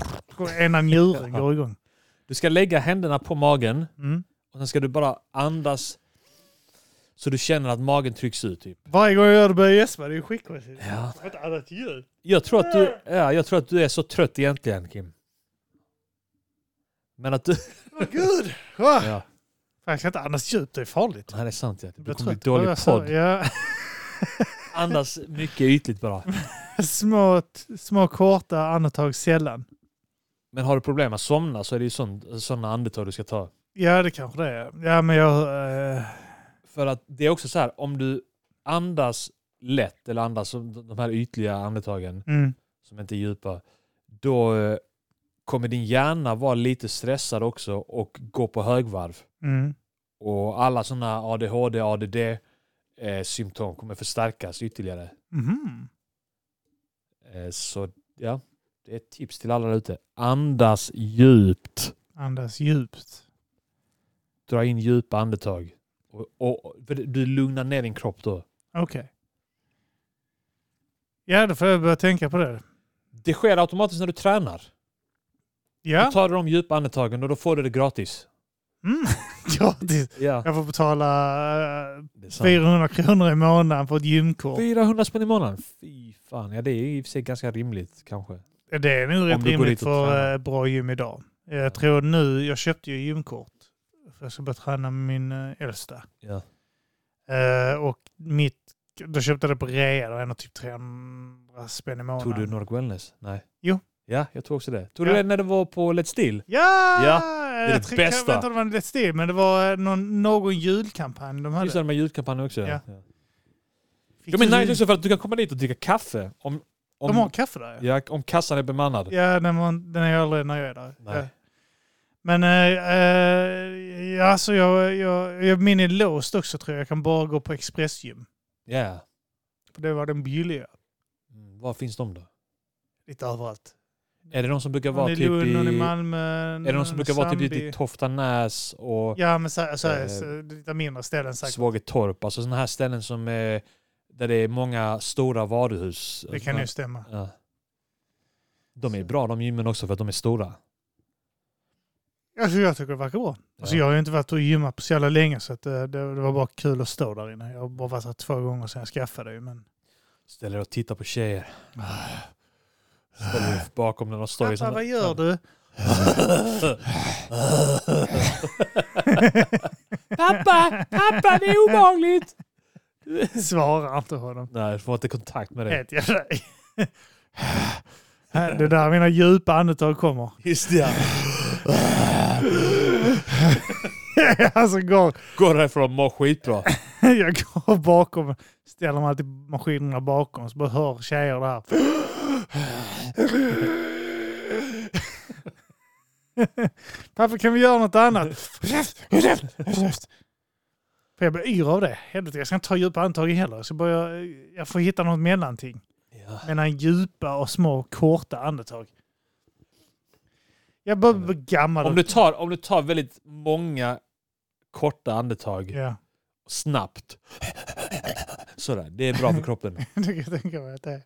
S1: Ena njuren går igång.
S2: du ska lägga händerna på magen
S1: Mm.
S2: och sen ska du bara andas så du känner att magen trycks ut. Typ.
S1: Varje gång jag gör det börjar jag gäspa. Det är ju skitkonstigt.
S2: Ja.
S1: Jag har inte andat ljud.
S2: Jag, tror att du, ja, jag tror att du är så trött egentligen, Kim. Men att du...
S1: Åh gud! Ah.
S2: Ja,
S1: Fan, Jag ska inte andas djupt, det är farligt.
S2: nej, det är sant. Ja. Det
S1: Jag
S2: kommer
S1: tror
S2: bli dålig
S1: jag sa-
S2: podd.
S1: Ja.
S2: Andas mycket ytligt bara.
S1: små, små korta andetag sällan.
S2: Men har du problem att somna så är det ju sån- sådana andetag du ska ta.
S1: Ja, det kanske det är. Ja, men jag... Eh,
S2: För att det är också så här, om du andas lätt eller andas som de här ytliga andetagen
S1: mm,
S2: som inte är djupa, då eh, kommer din hjärna vara lite stressad också och gå på högvarv.
S1: mm,
S2: Och alla sådana ADHD, ADD-symptom eh, kommer förstärkas ytterligare.
S1: mhm.
S2: Eh, Så ja, det är ett tips till alla där ute. Andas djupt.
S1: Andas djupt.
S2: Dra in djupa andetag. Och, och, för det- du lugnar ner din kropp då.
S1: Okej. Ja, då får jag börja tänka på det.
S2: Det sker automatiskt när du tränar. Då
S1: Ja.
S2: tar du de djupa andetagen och då får du det gratis.
S1: Mm. Gratis.
S2: (laughs) Ja,
S1: Jag får betala eh,
S2: det är
S1: 400 kronor i månaden för ett gymkort.
S2: 400 spänn i månaden? Fy fan. Ja, det är i och för sig ganska rimligt kanske.
S1: Ja, Det är nog
S2: du
S1: rätt
S2: går
S1: rimligt
S2: dit och
S1: för
S2: tränar.
S1: eh, bra gym idag. Jag
S2: Ja.
S1: tror nu, jag köpte ju gymkort. För jag ska börja träna med min eh, äldsta.
S2: Ja.
S1: Eh, och mitt, då köpte jag det på rea, det var ändå typ 300 spänn i månaden.
S2: Tog du Nordic Wellness? Nej.
S1: Jo.
S2: Ja, jag tog också det. Tog
S1: Ja.
S2: du det när det var på Let's Deal?
S1: Ja!
S2: Ja,
S1: det
S2: det bästa.
S1: Jag vet inte om det var en Let's Deal, men det var eh, någon, någon julkampanj de hade.
S2: Just det, de här ljudkampanjerna också.
S1: Ja. Fick
S2: De är
S1: du
S2: nice
S1: jul-
S2: också för att du kan komma dit och dricka kaffe. Om, om,
S1: de har kaffe där ja.
S2: ja, om kassan är bemannad.
S1: Ja, den, var, den är jag aldrig när jag är där.
S2: Nej.
S1: Ja. Men eh, eh, alltså jag, jag, jag, min är låst också tror jag. Jag kan bara gå på Expressgym.
S2: Ja.
S1: För det var den billiga.
S2: Mm, Var finns de då?
S1: Lite överallt.
S2: Är det de som brukar vara
S1: Någon i
S2: typ
S1: Lund,
S2: i...
S1: någon i Malmö,
S2: Är det de som brukar vara typ
S1: Sandby.
S2: lite i Toftanäs och
S1: Mm, Ja, men så, här- så, här,
S2: Eh,
S1: så, lite mindre ställen säkert.
S2: Svågetorp? Alltså sådana här ställen som är, där det är många stora varuhus.
S1: Det kan ju stämma.
S2: ja. De är bra de gymmen också för att de är stora.
S1: Alltså, jag tycker det verkar bra. Alltså,
S2: Ja.
S1: jag har ju inte varit och gymmat på så jävla länge så att, eh, det, det var bara kul att stå där inne. Jag har bara varit här två gånger sedan jag skaffade det. ju, Men...
S2: Ställer dig och tittar på tjejer. Ställer dig bakom när de står
S1: Pappa,
S2: i såna-
S1: vad gör
S2: (laughs)
S1: du?
S2: pappa, pappa det är obehagligt!
S1: (laughs) Svarar inte honom.
S2: Nej, du får inte kontakt med det.
S1: Helt jävla... (laughs) det är där mina djupa andetag kommer.
S2: Just
S1: (laughs)
S2: det.
S1: alltså går,
S2: Går härifrån, mår skitbra.
S1: (laughs) jag går bakom, ställer mig alltid maskinerna bakom så bara hör tjejer (laughs) där. Varför kan vi göra något annat? För jag blir yr av det. Helvete, jag ska inte ta djupa andetag heller. Så börjar jag, jag får hitta något mellanting.
S2: Ja.
S1: Mellan djupa och små korta andetag. Jag börjar bli gammal.
S2: Om, du tar, om du tar väldigt många korta andetag
S1: Ja,
S2: snabbt. Sådär, det är bra för
S1: (laughs)
S2: kroppen.
S1: det kan jag tänka mig att det är.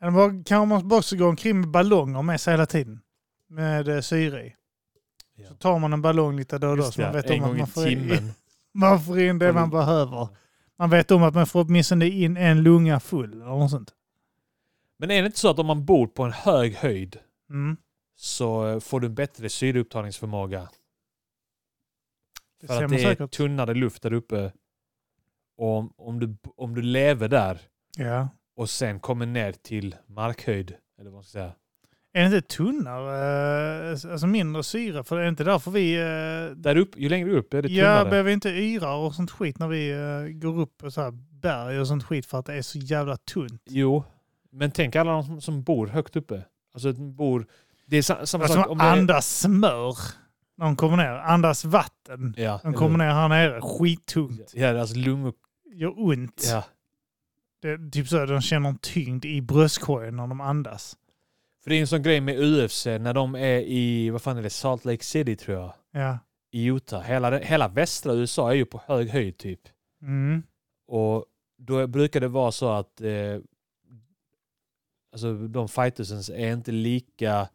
S1: Eller bara- Kanske man bara också gå omkring med ballonger med sig hela tiden. Med eh, syre i.
S2: Ja.
S1: Så tar man en ballong lite då och då
S2: Just
S1: så man
S2: det,
S1: vet
S2: en
S1: om att
S2: gång i
S1: man får in,
S2: timmen.
S1: (laughs) man får in det man
S2: Mm.
S1: behöver. Man vet om att man får åtminstone in en lunga full eller något sånt.
S2: Men är det inte så att om man bor på en hög höjd
S1: Mm.
S2: så eh, får du en bättre syreupptagningsförmåga?
S1: Det
S2: För
S1: ser
S2: att
S1: man
S2: det är
S1: säkert.
S2: tunnare luft där uppe. Och om, om, du, om du lever där
S1: Ja.
S2: och sen kommer ner till markhöjd, eller vad man ska säga.
S1: Är det inte tunnare, eh, alltså mindre syre? För det är inte därför vi... eh,
S2: Där upp, ju längre upp är det
S1: Ja,
S2: tunnare.
S1: behöver inte yra och sånt skit när vi eh, går upp på så här berg och sånt skit för att det är så jävla tunt.
S2: Jo, men tänk alla de som, som bor högt uppe. Alltså de bor... Det är sa, samma
S1: Det är
S2: sak
S1: som
S2: om det är,
S1: Alltså, andas smör när de kommer ner. Andas vatten.
S2: Ja,
S1: De kommer ner här nere, skittungt.
S2: Ja, alltså lungor...
S1: Gör ont.
S2: Ja.
S1: Det är typ så att de känner en tyngd i bröstkorgen när de andas.
S2: För det är en sån grej med UFC när de är i, vad fan är det, Salt Lake City tror jag.
S1: Ja.
S2: I Utah. Hela, hela västra USA är ju på hög höjd typ.
S1: Mm.
S2: Och då brukar det vara så att eh, alltså de fightersens är inte lika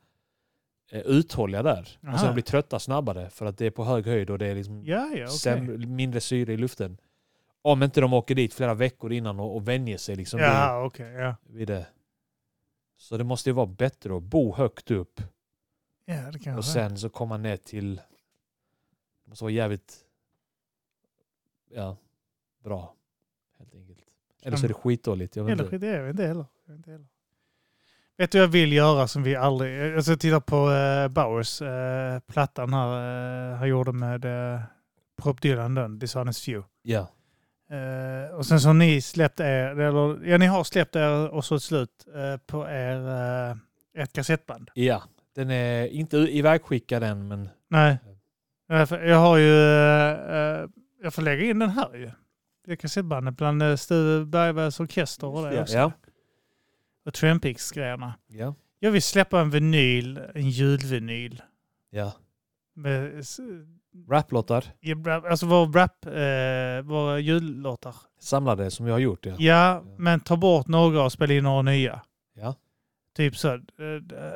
S2: eh, uthålliga där. Alltså
S1: Aha.
S2: de blir trötta snabbare för att det är på hög höjd och det är liksom
S1: Ja, ja, okej.
S2: sämre, mindre syre i luften. Om inte de åker dit flera veckor innan och, och vänjer sig liksom vid,
S1: Ja, okej. ja.
S2: vid det. Så det måste ju vara bättre att bo högt upp
S1: ja, det
S2: och
S1: kanske är.
S2: sen så komma ner till... Det måste vara jävligt... Ja, bra. Helt enkelt. Eller så är det skitdåligt. Jag vet
S1: Eller
S2: inte.
S1: skit, det är vi inte heller. Jag vet Inte heller. Vet du vad jag vill göra som vi aldrig... Alltså titta på eh, Bowers, eh, plattan här eh, han gjorde med uh, Prop Dylan, den, Dishonest Few.
S2: Ja.
S1: Eh, och sen så har ni släppt er, eller ja ni har släppt er och så ett slut eh, på er, eh, ett kassettband.
S2: ja. Den är inte ivägskickad än, men...
S1: Nej. Ja, för Jag har ju, eh, eh, jag får lägga in den här ju. Det kassettbandet bland eh, Steve Bergbergs orkester och det
S2: ja.
S1: också.
S2: Ja.
S1: Och Trampix grejerna.
S2: ja.
S1: Jag vill släppa en vinyl, en julvinyl.
S2: ja.
S1: Med, s-
S2: Raplåtar
S1: i rap- alltså vår rap, eh, våra jullåtar.
S2: samlade som jag har gjort. Ja.
S1: Ja, men ta bort några och spela in några nya.
S2: Ja.
S1: Typ så. eh, d-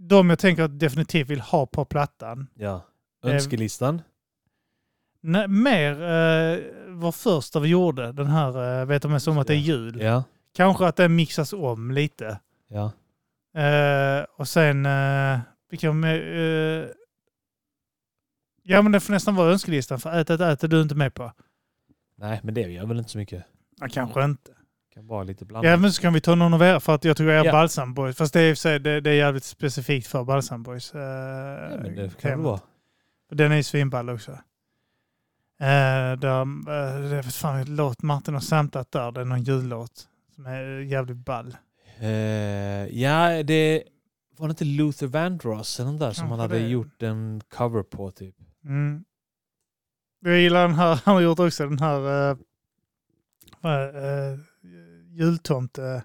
S1: De jag tänker att definitivt vill ha på plattan.
S2: ja.
S1: Eh,
S2: Önskelistan.
S1: Nej, mer eh, vår första vi gjorde, den här eh, Vet om ens om att det är jul.
S2: Ja.
S1: Kanske att den mixas om lite.
S2: Ja.
S1: Eh, och sen, eh, vilka med, eh, Ja men det får nästan vara önskelistan för ätet äter du inte med på.
S2: Nej, men det gör väl inte så mycket.
S1: Ja, kanske inte.
S2: Kan vara lite blandat.
S1: Ja men så kan vi ta någon av er för att jag tror jag är
S2: Ja.
S1: Balsam Boys. Fast det är, i och för sig- det, det är jävligt specifikt för Balsam Boys. eh,
S2: Ja, men det kan
S1: temat.
S2: det vara.
S1: Den är ju svinball också. Eh, där, eh, det, fan, låt Martin har samtat där. Det är någon jullåt som är jävligt ball.
S2: Eh, ja, det var det inte Luther Vandross eller den där som
S1: Kanske
S2: han hade
S1: det.
S2: gjort en cover på typ.
S1: Mm. Jag gillar den här, (laughs) han har gjort också den här eh, vad, eh, jultomte.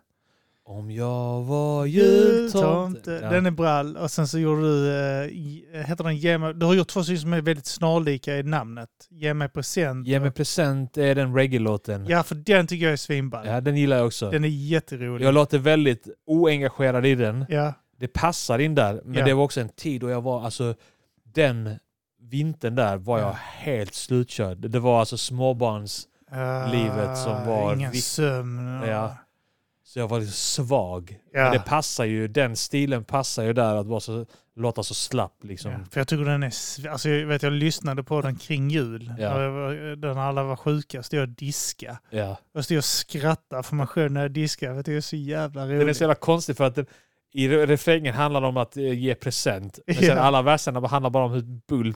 S2: Om jag var jultomte. Ja.
S1: eh, Den är brall. Och sen så gjorde du, eh, i- heter den Ge mig, du har gjort två stycken som är väldigt snarlika i namnet. Ge mig present.
S2: Ge mig present är den reggae-låten.
S1: Ja, för den tycker jag är svinball.
S2: Ja, den gillar jag också.
S1: Den är jätterolig.
S2: Jag låter väldigt oengagerad i den.
S1: Ja,
S2: Det passar in där, men
S1: Ja.
S2: det var också en tid då jag var, alltså den vintern där var jag
S1: Ja.
S2: helt slutkörd. Det var alltså småbarns,
S1: Ah,
S2: Livet som var
S1: Ingen
S2: vitt.
S1: sömn. och-
S2: Ja. så jag var liksom svag.
S1: Ja.
S2: Men det passar ju, den stilen passar ju där att vara så, låta så slapp liksom.
S1: Ja, för jag tycker den är... sv- Alltså jag, vet, jag lyssnade på den kring jul.
S2: Ja.
S1: När jag var- När alla var sjuka stod jag och diska.
S2: Ja.
S1: Jag stod och skrattade för mig själv när jag diskade. För det är så jävla roligt.
S2: Den är så jävla konstig för att den, i re- refrängen handlar det om att eh, ge present. Men sen
S1: Ja.
S2: alla verserna handlar bara om hur bull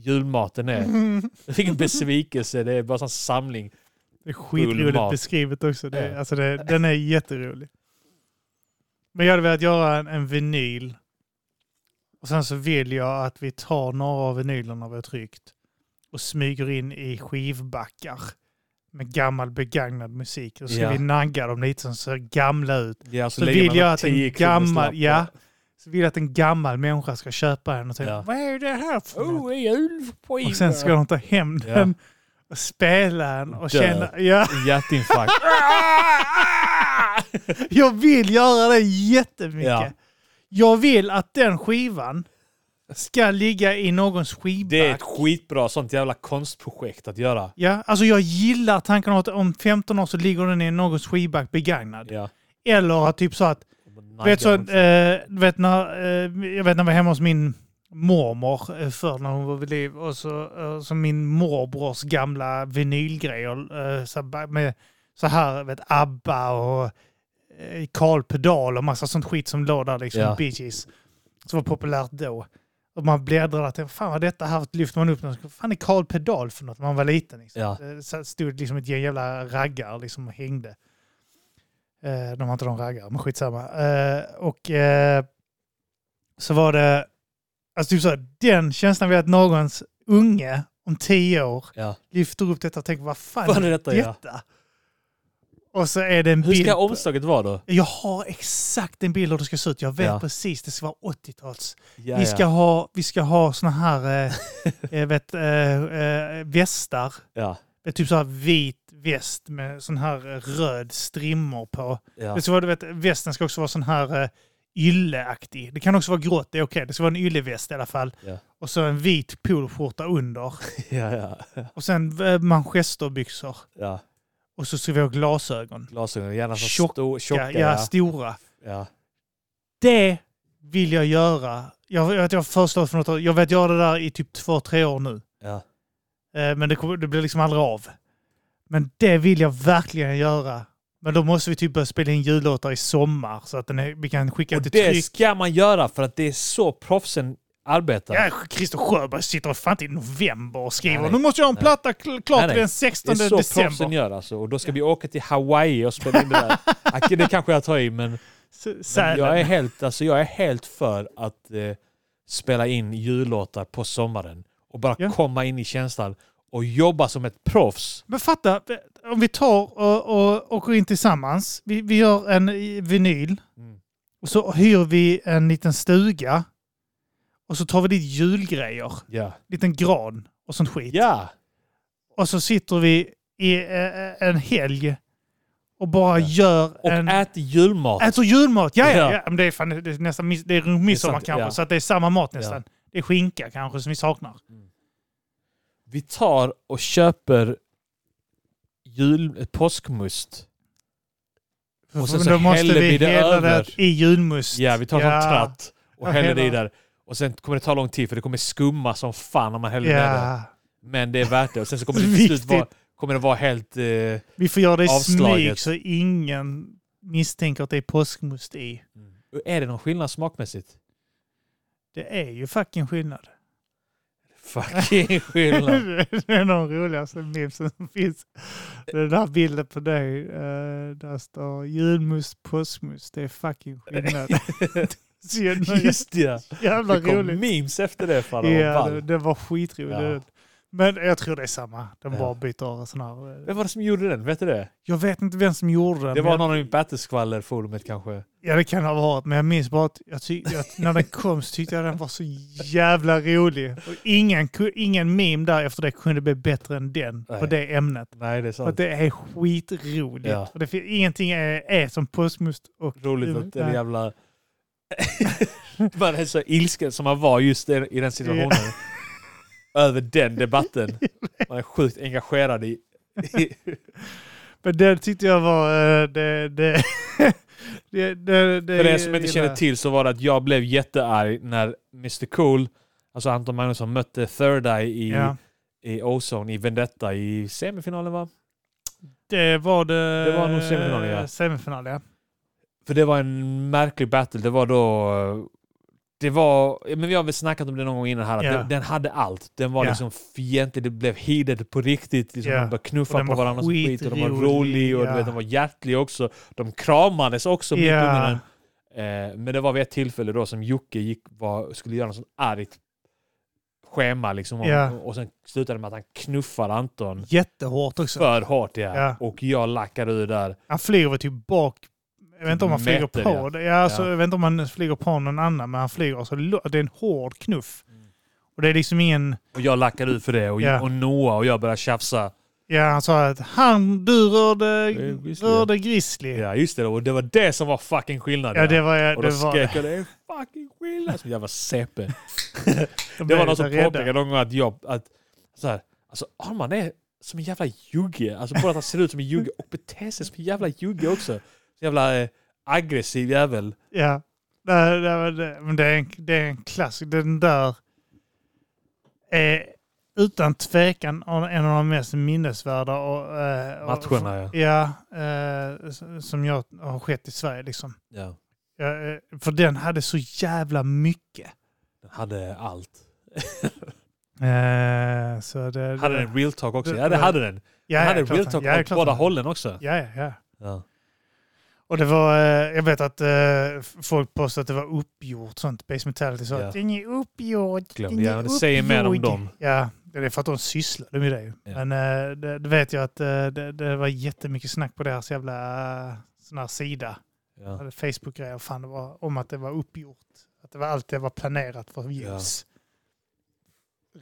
S2: julmaten är. (laughs)
S1: (laughs) Mm.
S2: Vilken besvikelse. Det är bara en samling.
S1: Det är skitroligt
S2: Bullmat.
S1: beskrivet också. Det, är-
S2: Ja.
S1: alltså det, den är jätterolig. Men jag hade velat göra en, en vinyl. Och sen så vill jag att vi tar några av vinylerna vi har tryckt och smyger in i skivbackar med gammal begagnad musik. Och så ska
S2: Ja.
S1: vi nagga dem lite som ser gamla ut.
S2: Ja, så
S1: Så
S2: lägger
S1: vill
S2: man
S1: jag
S2: en
S1: att en
S2: 10-kronorsslapp
S1: gammal-
S2: på.
S1: ja. Så vill jag att en gammal människa ska köpa den och tänka
S2: Ja.
S1: vad är det här för något?
S2: Oh, det är jul på
S1: Och sen ska de ta hem
S2: Ja.
S1: den och spela den och
S2: Dö.
S1: känna... Ja. (laughs)
S2: Hjärtinfarkt.
S1: Jag vill göra det jättemycket.
S2: Ja.
S1: Jag vill att den skivan ska ligga i någons skivback.
S2: Det är ett skitbra sånt jävla konstprojekt att göra.
S1: Ja, alltså jag gillar tanken om att om 15 år så ligger den i någons skivback begagnad.
S2: Ja.
S1: Eller att typ så att, du vet så, eh, du vet när, eh, jag vet när jag var hemma hos min mormor eh, förr när hon var vid liv och så, eh, så min morbrors gamla vinylgrejer eh, så, här ba- med så här, vet ABBA och eh, Karl Pedal och massa sånt skit som låg där liksom,
S2: Ja.
S1: Bee Gees, som var populärt då. Och man bläddrade till, fan vad detta här lyfter man upp, vad fan är Karl Pedal för något? Man var liten liksom.
S2: Ja.
S1: Eh, Så stod liksom ett gäng jävla raggar liksom och hängde. Eh, de var inte de raggar, men skitsamma. Eh, och eh, så var det, alltså typ så här, den känslan vid att någons unge om tio år
S2: Ja.
S1: lyfter upp detta och tänker vad fan
S2: Vad är detta? Ja.
S1: detta? Och så är det en
S2: Hur
S1: bild.
S2: ska
S1: på-
S2: omslaget vara då?
S1: Jag har exakt en bild hur det ska se ut. Jag vet
S2: Ja.
S1: precis. Det ska vara 80-tals.
S2: Ja,
S1: Vi ska
S2: ja.
S1: ha, vi ska ha såna här eh,
S2: (laughs)
S1: eh, vet, eh, eh, västar.
S2: Ja,
S1: Eh, Typ så här vit väst med sån här eh, röd strimmor på.
S2: ja.
S1: Det ska vara, du vet, västen ska också vara sån här eh, ylleaktig. Det kan också vara grått, det är okej. Det ska vara en ylleväst i alla fall.
S2: Ja.
S1: Och så en vit poloskjorta under.
S2: ja, ja.
S1: Och sen eh, manchesterbyxor.
S2: ja.
S1: Och så ska vi ha glasögon.
S2: Glasögon, gärna så
S1: Tjocka,
S2: stor, tjocka.
S1: ja,
S2: Ja,
S1: stora.
S2: ja.
S1: Det vill jag göra. Jag vet att jag föreslår för något år. Jag vet göra det där i typ två, tre år nu.
S2: ja.
S1: Eh, Men det, kommer, det blir liksom aldrig av. Men det vill jag verkligen göra. Men då måste vi typ börja spela in jullåtar i sommar så att den är, vi kan skicka
S2: Och
S1: till
S2: det
S1: tryck.
S2: ska man göra för att det är så proffsen arbetar.
S1: Ja, Christer Sjöberg sitter fan inte i november och skriver
S2: Nej,
S1: nu måste jag ha en
S2: nej.
S1: platta kl- klar
S2: Nej,
S1: till
S2: nej.
S1: den
S2: det är
S1: 16
S2: så proffsen
S1: december.
S2: gör alltså. Och då ska vi åka till Hawaii och spela in det
S1: (laughs)
S2: där. Okej, Det kanske jag tar i, men
S1: S-
S2: Men
S1: Sälen.
S2: jag, är helt, alltså jag är helt för att eh, spela in jullåtar på sommaren och bara
S1: Ja.
S2: komma in i känslan och jobba som ett proffs.
S1: Men fatta, om vi tar och, och åker in tillsammans. Vi, vi gör en i- vinyl.
S2: Mm.
S1: Och så hyr vi en liten stuga. Och så tar vi dit julgrejer.
S2: Ja.
S1: Liten gran och sånt skit.
S2: Ja.
S1: Och så sitter vi i eh, en helg och bara
S2: Ja.
S1: gör
S2: Och
S1: en...
S2: ät julmat.
S1: Äter julmat! Ja, ja,
S2: Ja.
S1: ja. Men det är, fan, det är nästan mis- det är runt midsommar
S2: sant,
S1: kanske,
S2: ja.
S1: så att det är samma mat nästan. Det är skinka kanske som vi saknar.
S2: Vi tar och köper jul, eh, påskmust. Och sen
S1: Men
S2: så häller vi det över.
S1: i julmust.
S2: Ja, vi tar en sån tratt och
S1: Ja,
S2: häller det i
S1: hela-
S2: där. Och sen kommer det ta lång tid för det kommer skumma som fan när man häller ner det.
S1: Ja.
S2: Men det är värt det. Och sen så
S1: (laughs)
S2: kommer det till
S1: Viktigt.
S2: slut vara, kommer det vara helt... Eh,
S1: Vi får göra det i smyg
S2: Avslaget.
S1: så ingen misstänker att det är påskmust i.
S2: är det någon skillnad smakmässigt?
S1: Det är ju fucking skillnad. (laughs)
S2: Fucking skillnad.
S1: det är de roligaste memesen som finns. Den där bilden på dig, eh, där står julmust, påskmust, det är fucking
S2: (laughs)
S1: skillnad. Så jävla,
S2: Just det. (laughs) ja.
S1: jävla
S2: Det kom
S1: roligt.
S2: memes efter det. Fan,
S1: Ja,
S2: yeah,
S1: det,
S2: det...
S1: det var skitroligt. Men jag tror det är samma. De
S2: Ja.
S1: bara byter sån här... eh,
S2: Vem var det som gjorde den? Vet du det?
S1: Jag vet inte vem som gjorde den.
S2: Det
S1: men-
S2: var någon i Battleskvaller-forumet kanske.
S1: Ja det kan det ha varit, men jag minns bara att, jag ty- att när den kom så tyckte jag den var så jävla rolig. Och ingen, ku- ingen meme där efter det kunde bli bättre än den på
S2: Nej.
S1: det ämnet.
S2: Nej, det är
S1: För att
S2: sant.
S1: det är skitroligt.
S2: Ja.
S1: Och det fin- ingenting är, är som påskmust och...
S2: Roligt att
S1: Ja.
S2: den jävla... (laughs) Man är så ilsken som man var just där, i den situationen. Över
S1: (laughs)
S2: den debatten. Man är sjukt engagerad i... i
S1: Men den tyckte jag var... eh, Det, det, (laughs) det, det, det,
S2: För er som inte
S1: gillar
S2: känner
S1: jag.
S2: till så var det att jag blev jättearg när Mr Cool, alltså Anton Magnusson, mötte Third Eye i,
S1: Ja,
S2: i Ozone, i Vendetta, i semifinalen va?
S1: det var det...
S2: Det var nog semifinalen, ja.
S1: Semifinal, ja.
S2: För det var en märklig battle. Det var då eh, Det var, men vi har väl snackat om det någon gång innan här, att
S1: Ja.
S2: den, den hade allt. Den var
S1: Ja.
S2: liksom fientlig, det blev heated på riktigt. Liksom,
S1: Ja.
S2: De började knuffa
S1: Och den
S2: på
S1: var
S2: varandras skit och de var
S1: skitrolig,
S2: rolig och
S1: ja.
S2: du vet, de var hjärtlig också. De kramades också mitt under den.
S1: Ja.
S2: Eh, men det var vid ett tillfälle då som Jocke gick, var, skulle göra något sånt argt schema liksom. Och,
S1: Ja.
S2: och sen slutade det med att han knuffade Anton
S1: Jättehårt också.
S2: för hårt ja.
S1: Ja.
S2: Och jag lackade ur där.
S1: Han flyger väl typ bak. Jag vet inte om han flyger
S2: Meter,
S1: på.
S2: ja.
S1: det. Ja, alltså,
S2: Ja.
S1: Jag vet inte om han flyger på någon annan, men han flyger. Så lo- det är en hård knuff.
S2: Mm.
S1: Och det är liksom ingen...
S2: Och jag lackade ut för det och,
S1: Ja.
S2: och Noah och jag började tjafsa.
S1: Ja, han sa att han, du rörde,
S2: Det är Grizzly.
S1: rörde Grizzly. Ja.
S2: Ja just det, och det var det som var fucking skillnaden.
S1: det var... Det
S2: och
S1: var,
S2: då
S1: det
S2: skrek jag det är fucking skillnad. Som
S1: (laughs)
S2: jävla sepe.
S1: de
S2: Det
S1: blev
S2: var någon som
S1: lite rädda.
S2: påpekade någon gång att jag... Att, så här, alltså Arman är som en jävla jugge. Alltså både att han ser ut som en jugge och beter sig som en jävla jugge också. Så jävla eh, aggressiv jävel.
S1: Ja. Det, det, det, men det, är en, det är en klassiker. Den där är utan tvekan en av de mest minnesvärda och, eh, och,
S2: Matcherna ja.
S1: Ja, eh, s- som jag har skett i Sverige liksom.
S2: ja.
S1: Ja, eh, för den hade så jävla mycket.
S2: Den hade allt.
S1: Eh, så det,
S2: Hade den real talk också? Ja det hade den.
S1: ja,
S2: Den hade
S1: ja, klart
S2: real
S1: den-
S2: talk
S1: ja,
S2: åt
S1: klart
S2: båda
S1: den-
S2: hållen också.
S1: Ja, ja, ja.
S2: Ja.
S1: Och det var, eh, jag vet att eh, f- folk påstod att det var uppgjort sånt. Base Metallica sa
S2: Ja.
S1: att den är uppgjord.
S2: Glöm
S1: den
S2: det.
S1: är
S2: Ja, det säger mer om
S1: uppgjord."
S2: dem.
S1: Ja, det är för att de sysslade med det ju.
S2: Ja.
S1: Men eh, det, det vet jag att eh, det, det var jättemycket snack på deras jävla eh, sån här sida.
S2: Ja.
S1: hade Facebook-grejer fan, det var, om att det var uppgjort. Att det var allt det var planerat för ljus.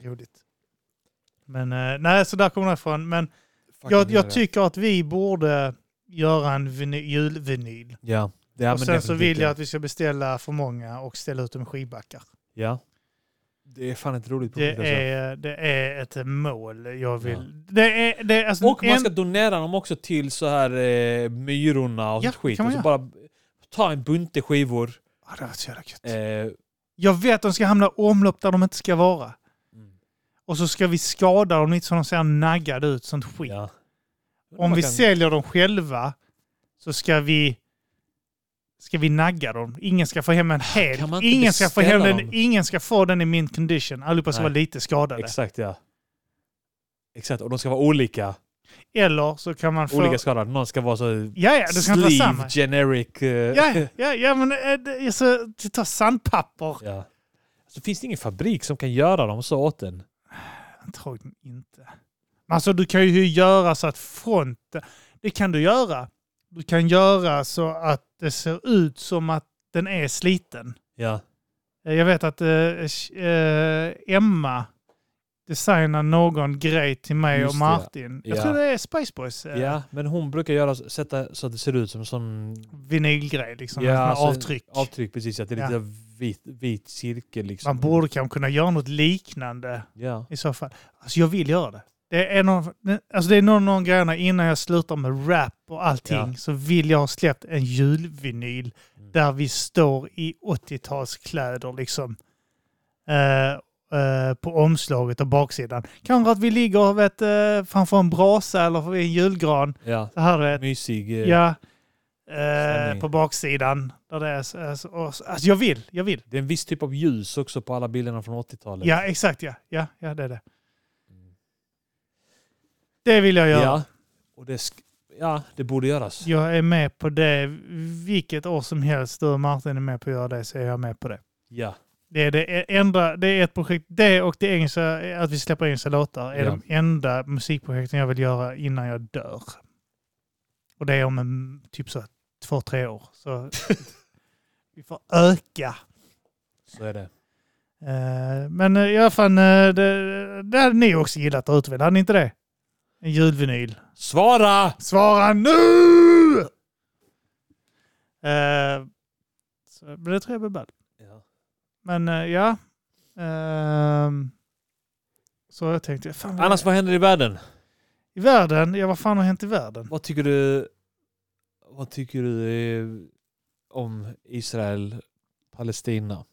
S1: Roligt. Men eh, nej, så där kommer det ifrån. Men jag, jag tycker att vi borde göra en viny- julvinyl.
S2: Ja. Det, ja,
S1: och sen
S2: men
S1: så
S2: definitivt,
S1: vill
S2: ja.
S1: jag att vi ska beställa för många och ställa ut dem i skivbackar.
S2: Ja. Det är fan ett roligt
S1: Det
S2: projekt. Alltså.
S1: är, det är ett mål jag vill... Det är, det är, alltså
S2: Och man ska
S1: en,
S2: donera dem också till så här eh, Myrorna och
S1: Ja,
S2: sånt skit.
S1: kan
S2: Och
S1: man
S2: så bara ta en bunte skivor.
S1: Ah, det var så jävla gött.
S2: Eh,
S1: Jag vet de ska hamna i omlopp där de inte ska vara. Och så ska vi skada dem lite så de ser naggade ut, sånt skit.
S2: ja.
S1: Om
S2: Man
S1: vi
S2: kan-
S1: säljer dem själva så ska vi ska vi nagga dem. Ingen ska få hem en hel.
S2: Kan man inte
S1: Ingen ska, få hem
S2: beställa
S1: den,
S2: dem?
S1: ingen ska få den i mint condition. Allihopa ska
S2: Nej.
S1: vara lite skadade.
S2: Exakt ja. Exakt, och de ska vara olika.
S1: Eller så kan man få...
S2: Olika skadade. Någon ska vara så
S1: ja, ja, det ska inte vara samma.
S2: sleeve generic. Eh,
S1: Ja, ja, ja, men eh, det är så, ta sandpapper.
S2: (laughs) ja. Så finns det ingen fabrik som kan göra dem så åt en.
S1: Antagligen inte. Men alltså du kan ju göra så att front... Det kan du göra. Du kan göra så att det ser ut som att den är sliten.
S2: Ja.
S1: Eh, Jag vet att eh, sh- eh, Emma designar någon grej till mig
S2: Just
S1: och
S2: det, ja.
S1: Martin. Jag
S2: Ja.
S1: tror det är Spice Boys eh,
S2: ja, men hon brukar göra, sätta så att det ser ut som sån
S1: vinylgrej. Liksom,
S2: Ja,
S1: med såna
S2: alltså,
S1: avtryck.
S2: Avtryck, precis. Att det är
S1: Ja.
S2: lite vit, vit cirkel liksom.
S1: Man borde kanske kunna göra något liknande
S2: Ja.
S1: i så fall. Alltså jag vill göra det. Det är någon, alltså det är någon, någon grejerna innan jag slutar med rap och allting
S2: Ja.
S1: så vill jag ha släppt en julvinyl
S2: Mm.
S1: där vi står i 80-talskläder liksom. Eh, eh, på omslaget och baksidan. Kanske att vi ligger vet, eh, framför en brasa eller vid en julgran.
S2: ja.
S1: Så här vet,
S2: Mysig. eh,
S1: ja, eh,
S2: stämning.
S1: på baksidan. Där det är, så- alltså, och- alltså jag vill, jag vill.
S2: Det är en viss typ av ljus också på alla bilderna från 80-talet.
S1: Ja, exakt ja. Ja, ja det är det.
S2: Mm.
S1: Det vill jag göra.
S2: Ja. Och det sk- ja, det borde göras.
S1: Jag är med på det. Vilket år som helst du och Martin är med på att göra det så är jag med på det.
S2: Ja.
S1: Det är, det enda, det är ett projekt. Det och det engelska, att vi släpper engelska låtar är
S2: Ja.
S1: de enda musikprojekten jag vill göra innan jag dör. Och det är om en, typ så här två, tre år.
S2: (laughs)
S1: Så vi får öka.
S2: Så är det.
S1: Eh, Men eh, i alla fall, eh, det, det hade ni också gillat där ute väl? Hade ni inte det? En julvinyl.
S2: Svara!
S1: Svara nu! Eh, så, men det tror jag blir ball.
S2: Ja.
S1: Men eh, ja. Ehm, så jag tänkte, fan, vad-
S2: Annars, vad händer i världen?
S1: i världen, ja vad fan har hänt i världen?
S2: Vad tycker du, vad tycker du eh, om Israel, Palestina?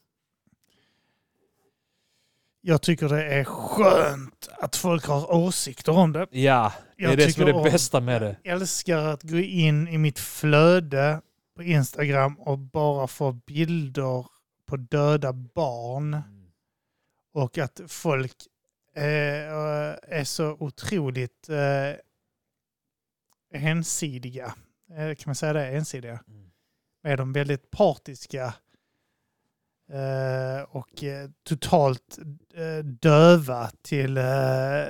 S1: Jag tycker det är skönt att folk har åsikter om det.
S2: Ja, det är
S1: Jag
S2: det som är
S1: tycker
S2: det
S1: om-
S2: bästa med det.
S1: Jag älskar att gå in i mitt flöde på Instagram och bara få bilder på på döda barn
S2: Mm.
S1: och att folk eh, är så otroligt eh, ensidiga. Eh, kan man säga det? Ensidiga.
S2: Mm.
S1: Är de väldigt partiska eh, och eh, totalt eh, döva till, eh,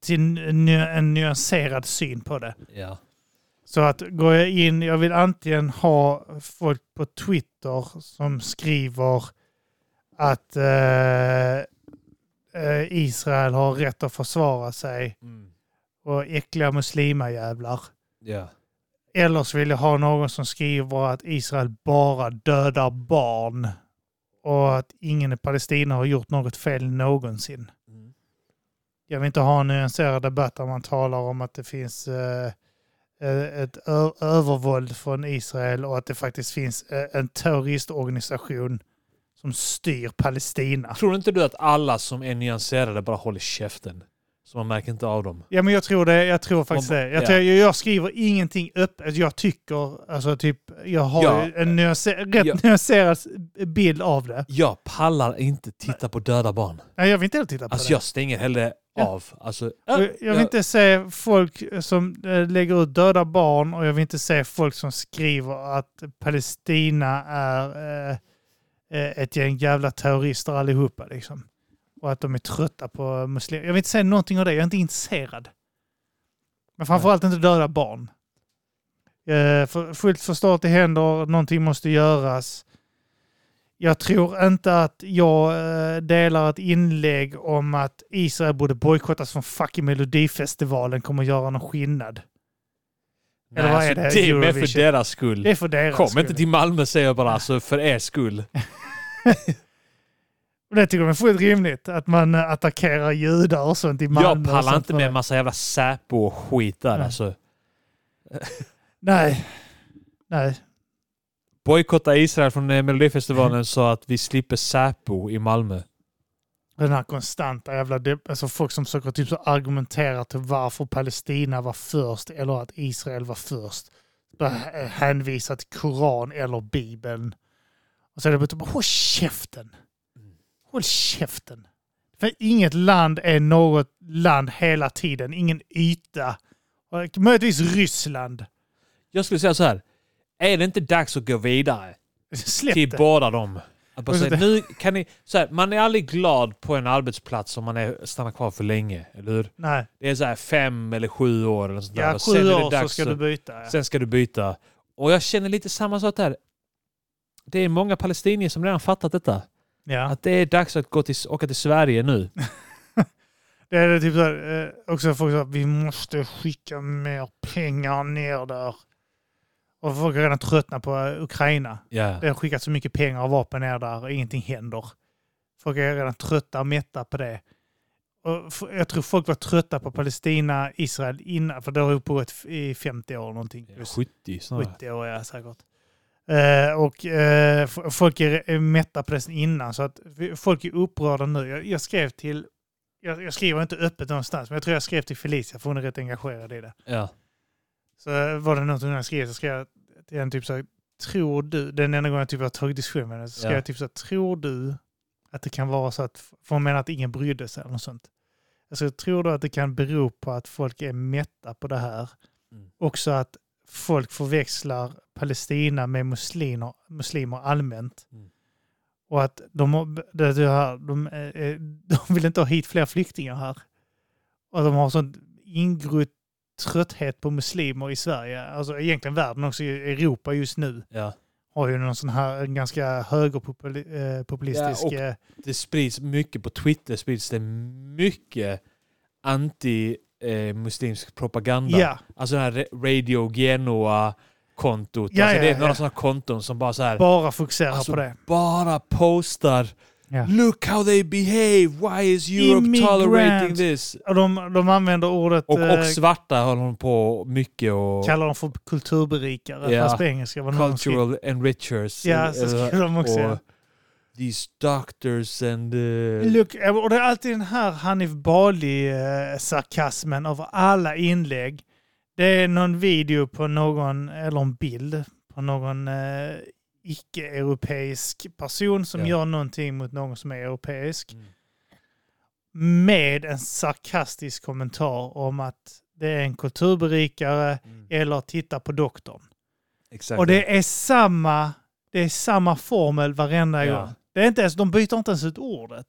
S1: till en ny- en nyanserad syn på det.
S2: Ja.
S1: Så att går jag in, jag vill antingen ha folk på Twitter som skriver att eh, eh, Israel har rätt att försvara sig
S2: Mm.
S1: och äckliga muslimajävlar.
S2: Ja.
S1: Eller så vill jag ha någon som skriver att Israel bara dödar barn och att ingen i Palestina har gjort något fel någonsin.
S2: Mm.
S1: Jag vill inte ha en nyanserad debatt där man talar om att det finns eh, eh, ett ö- övervåld från Israel och att det faktiskt finns eh, en terroristorganisation som styr Palestina.
S2: Tror inte du att alla som är nyanserade bara håller käften? Så man märker inte av dem?
S1: Ja, men jag tror det. Jag tror faktiskt
S2: Om-
S1: det. Jag,
S2: ja.
S1: tror, jag, jag skriver ingenting öppet. Jag tycker, alltså typ, jag har
S2: Ja.
S1: ju en nyanser, rätt
S2: Ja.
S1: nyanserad bild av det.
S2: Jag pallar inte titta på döda barn.
S1: Nej, jag vill inte heller titta på
S2: Alltså
S1: det.
S2: jag stänger hellre
S1: Ja.
S2: av. Alltså,
S1: Och
S2: äh,
S1: Jag, jag vill inte se folk som eh, lägger ut döda barn och jag vill inte se folk som skriver att Palestina är eh, eh, ett gäng jävla terrorister allihopa. Liksom. Och att de är trötta på muslimer. Jag vill inte se någonting av det. Jag är inte intresserad. Men framförallt inte döda barn. Eh, för, fullt förstå att det händer, någonting måste göras. Jag tror inte att jag eh, delar ett inlägg om att Israel borde bojkottas från fucking Melodifestivalen kommer göra någon skillnad.
S2: nej,
S1: eller vad är
S2: alltså,
S1: det?
S2: det är med för
S1: Eurovision.
S2: deras skull.
S1: Det är för deras
S2: Kom
S1: skull.
S2: inte till Malmö säger jag bara, alltså för er skull.
S1: Och Det tycker de är fullt rimligt, att man eh, attackerar judar och sånt i Malmö.
S2: Jag
S1: och
S2: pallar
S1: sånt
S2: inte
S1: för
S2: med
S1: det.
S2: massa jävla Säpo och skit där
S1: Mm.
S2: alltså.
S1: Nej. Nej.
S2: Bojkotta Israel från eh, Melodifestivalen så att vi slipper Säpo i Malmö.
S1: Den här konstanta jävla... depp- Alltså folk som försöker typ så argumentera till varför Palestina var först eller att Israel var först. Bara hänvisa till Koran eller Bibeln. Och så är det bara typ, håll käften.
S2: Mm.
S1: Håll käften. För inget land är något land hela tiden. Ingen yta. Och Möjligtvis Ryssland.
S2: Jag skulle säga så här. Är det inte dags att gå vidare
S1: Släpp
S2: till
S1: det.
S2: båda dem? Att bara
S1: Och så
S2: säga, nu kan ni, så här, man är aldrig glad på en arbetsplats om man är, stannar kvar för länge, eller hur?
S1: Nej.
S2: Det är så här fem eller sju år eller sånt där.
S1: Ja,
S2: Och sen är
S1: sju
S2: det
S1: år så
S2: dags
S1: ska
S2: att-
S1: du byta. Ja.
S2: Sen ska du byta. Och jag känner lite samma sak där. Det är många palestinier som redan fattat detta.
S1: Ja.
S2: Att det är dags att gå till, åka till
S1: (laughs)
S2: Sverige nu.
S1: Det är typ så här, eh, också folk säger vi måste skicka mer pengar ner där. Och folk har redan tröttnat på eh, Ukraina.
S2: Ja.
S1: Det har skickat så mycket pengar och vapen ner där och ingenting händer. Folk är redan trötta och mätta på det. Och f- jag tror folk var trötta på Palestina, Israel innan, för det har ju pågått f- i 50 år någonting.
S2: Ja,
S1: Plus
S2: 70 snarare.
S1: 70 år, ja säkert. Eh, och eh, f- folk är är mätta på det sen innan, så att vi- folk är upprörda nu. Jag, jag skrev till, jag, jag skriver inte öppet någonstans, men jag tror jag skrev till Felicia, för hon är rätt engagerad i det.
S2: Ja.
S1: Så eh, var det någonting jag skrev, så skrev jag till henne typ så här, tror du, den enda gången jag typ har tagit diskussion med henne, så skrev
S2: Ja.
S1: jag typ så här, tror du att det kan vara så att, för hon menar att ingen brydde sig eller något sånt. Alltså tror du att det kan bero på att folk är mätta på det här?
S2: Mm.
S1: Också att folk förväxlar Palestina med muslimer, muslimer allmänt.
S2: Mm.
S1: Och att de, har- det det här, de, är- är- de vill inte ha hit fler flyktingar här. Och de har sån ingrott trötthet på muslimer i Sverige, alltså egentligen världen också, i Europa just nu,
S2: Ja.
S1: har ju någon sån här en ganska högerpopulistisk... Eh, populistisk,
S2: Ja, och-
S1: eh,
S2: Det sprids mycket på Twitter, sprids det mycket anti-muslimsk propaganda.
S1: ja,
S2: Alltså den här Re- Radio Genoa-kontot.
S1: Ja,
S2: alltså det är
S1: ja,
S2: några
S1: ja.
S2: sådana konton som bara så här
S1: bara fokusera
S2: Alltså,
S1: på det.
S2: bara postar
S1: Ja.
S2: Look how they behave! Why is Europe
S1: Immigrant.
S2: tolerating this?
S1: Och de, de använder ordet,
S2: Och,
S1: eh,
S2: och svarta håller hon på mycket och
S1: kallar dem för kulturberikare,
S2: Ja.
S1: fast på engelska. Vad någon skrev.
S2: cultural enrichers.
S1: Ja, så
S2: Eller-
S1: skriver de också. ja.
S2: och these doctors and... eh,
S1: Look, och det är alltid den här Hanif Bali-sarkasmen av alla inlägg. Det är någon video på någon, eller en bild på någon eh, icke-europeisk person som
S2: Ja.
S1: gör någonting mot någon som är europeisk.
S2: Mm.
S1: Med en sarkastisk kommentar om att det är en kulturberikare
S2: Mm.
S1: eller titta på doktorn.
S2: Exakt.
S1: Och det är samma, det är samma formel varenda
S2: Ja.
S1: gång. Det är inte ens, de byter inte ens ut ordet.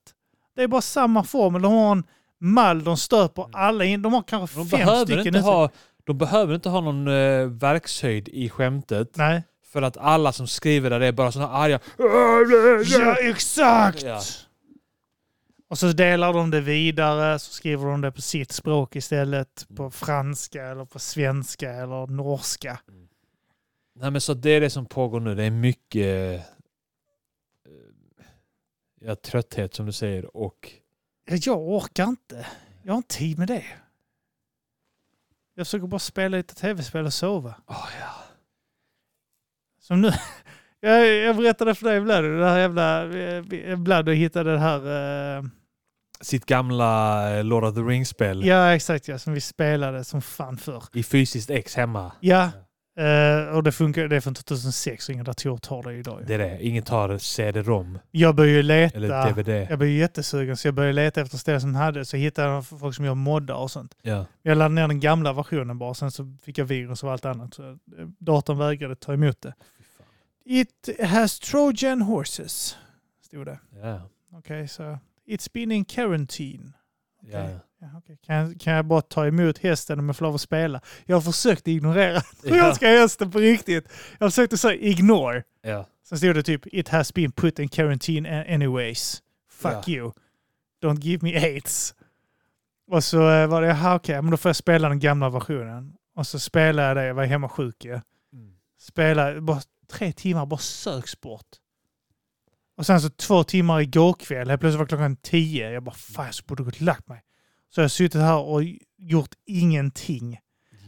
S1: Det är bara samma formel. De har en mall, de stöper
S2: Mm.
S1: alla in. De har kanske
S2: de,
S1: fem
S2: behöver
S1: stycken.
S2: inte
S1: uttryck.
S2: ha, de behöver inte ha någon eh, verkshöjd i skämtet.
S1: Nej.
S2: För att alla som skriver där det är bara sådana arga...
S1: Ja, exakt!
S2: Ja.
S1: Och så delar de det vidare, så skriver de det på sitt språk istället.
S2: Mm.
S1: På franska eller på svenska eller norska.
S2: Nej men så det är det som pågår nu. Det är mycket eh, ja, trötthet som du säger och
S1: Ja, Jag orkar inte. Jag har inte tid med det. Jag försöker bara spela lite tv-spel och sova.
S2: oh, ja.
S1: Som nu. (laughs) Jag, jag berättade för dig Vlad, det här jävla... eh, Vlad och hittade det här... eh,
S2: sitt gamla eh, Lord of the Rings-spel
S1: ja, exakt ja, som vi spelade som fan för.
S2: i fysiskt ex hemma.
S1: Ja, eh, och det funkar, det är från 2006 och inga datorer tar det idag. ju.
S2: Det är det. Ingen tar CD-ROM
S1: Jag började ju
S2: eller
S1: leta,
S2: DVD.
S1: jag blev jättesugen så jag började leta efter ställen som hade det, så hittade jag folk som gör moddar och sånt.
S2: Ja.
S1: Jag laddade ner den gamla versionen bara, sen så fick jag virus och allt annat. Så eh, datorn vägrade ta emot det.
S2: Fy fan.
S1: It has Trojan horses, stod det.
S2: Ja.
S1: Okej, så it's been in quarantine.
S2: Ja.
S1: Okej. Ja, okej. Kan, jag- kan jag bara ta emot hästen om jag får lov att spela? Jag har försökt ignorera att
S2: (laughs) Ja.
S1: jag ska ha hästen på riktigt. Jag försökte säga ignore.
S2: Ja.
S1: Sen stod det typ it has been put in quarantine a- anyways. Fuck
S2: Ja.
S1: you. Don't give me aids. Och så eh, var det, jaha okej, men då får jag spela den gamla versionen. Och så spelade jag det, jag var hemma sjuk ju.
S2: Mm.
S1: Spelade bara tre timmar, bara söksport. Och sen så två timmar igår kväll, helt plötsligt var klockan tio. Jag bara, fan jag borde gått och lagt mig. Så jag har suttit här och gjort ingenting.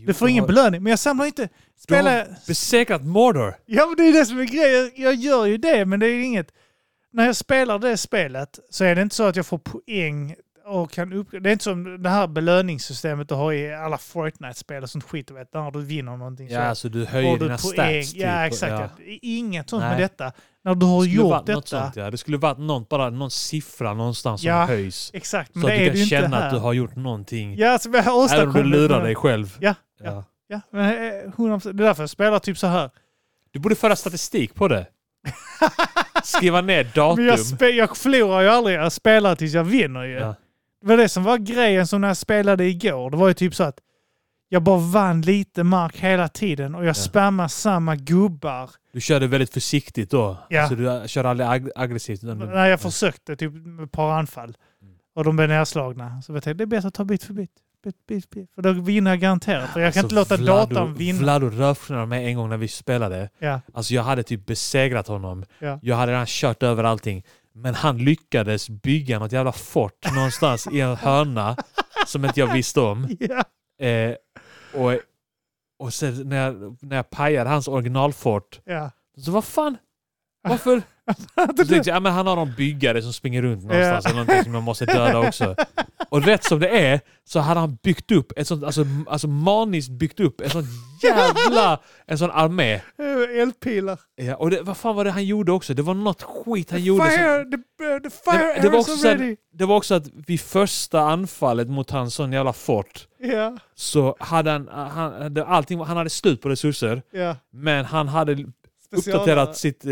S1: Du får ingen belöning, men jag samlar inte. Spela...
S2: Besegrat Mordor!
S1: Ja, men det är det som är grejen. Jag gör ju det, men det är inget... När jag spelar det spelet så är det inte så att jag får poäng och kan upp... Det är inte som det här belöningssystemet du har i alla Fortnite-spel och sånt skit. Du vet, när du vinner någonting
S2: Ja,
S1: så
S2: alltså du
S1: har
S2: höjer
S1: du
S2: dina
S1: poäng.
S2: stats.
S1: Ja,
S2: typ.
S1: exakt.
S2: Ja.
S1: Ja. Det är Inget sånt med
S2: Nej.
S1: detta. När du har
S2: Det skulle
S1: gjort
S2: varit något
S1: detta.
S2: sånt, ja. Det skulle varit någon, bara någon siffra någonstans
S1: Ja.
S2: som höjs.
S1: Exakt, men
S2: Så att
S1: det
S2: du
S1: är
S2: kan
S1: du inte
S2: känna
S1: här.
S2: att du har gjort någonting.
S1: Ja, som jag har
S2: Även om du
S1: åstadkommit.
S2: lurar dig själv.
S1: Ja, ja. Ja, men, eh, 100%. Det är därför jag spelar typ så här.
S2: Du borde föra statistik
S1: (laughs)
S2: på det. Skriva ner datum.
S1: Men jag, spe- jag förlorar ju aldrig. Jag spelar tills jag vinner ju.
S2: Ja.
S1: Det var det som var grejen som när jag spelade igår. Det var ju typ så att jag bara vann lite mark hela tiden och jag spammar samma gubbar.
S2: Du körde väldigt försiktigt då.
S1: Ja.
S2: Alltså, du kör aldrig ag- aggressivt. utan du-
S1: När jag försökte, typ med ett par anfall.
S2: Mm.
S1: Och de blev nedslagna. Så jag tänkte det är bättre att ta bit för bit. bit, bit, bit. För då vinner jag garanterat. För jag kan
S2: Alltså,
S1: inte låta
S2: Vlado-
S1: datorn vinna.
S2: Vlado rövsknade mig en gång när vi spelade. (laughs)
S1: ja. (laughs)
S2: Alltså jag hade typ besegrat honom.
S1: Ja.
S2: Jag hade redan kört över allting. Men han lyckades bygga något jävla fort någonstans i en hörna som inte jag visste om.
S1: Ja.
S2: Eh, och och sen när jag, när jag pajade hans originalfort
S1: ja.
S2: så vad fan? Varför?
S1: (laughs)
S2: Så tänkte jag, ja, men han har någon byggare som springer runt någonstans eller någonting som man måste döda också. Och rätt som det är så hade han byggt upp ett sånt, alltså, alltså maniskt byggt upp en sån jävla, en sån armé.
S1: Eh, Eldpilar.
S2: Ja, och det, vad fan var det han gjorde också? Det var något skit han gjorde. som-
S1: Fire, the, eh, the fire
S2: det, det, var
S1: arrows
S2: också
S1: are
S2: så
S1: ready.
S2: här, det var också att vid första anfallet mot hans sån jävla fort
S1: Ja,
S2: så hade han, han, hade allting, han hade slut på resurser.
S1: ja. uh,
S2: Men han hade
S1: Specialare.
S2: uppdaterat sitt eh,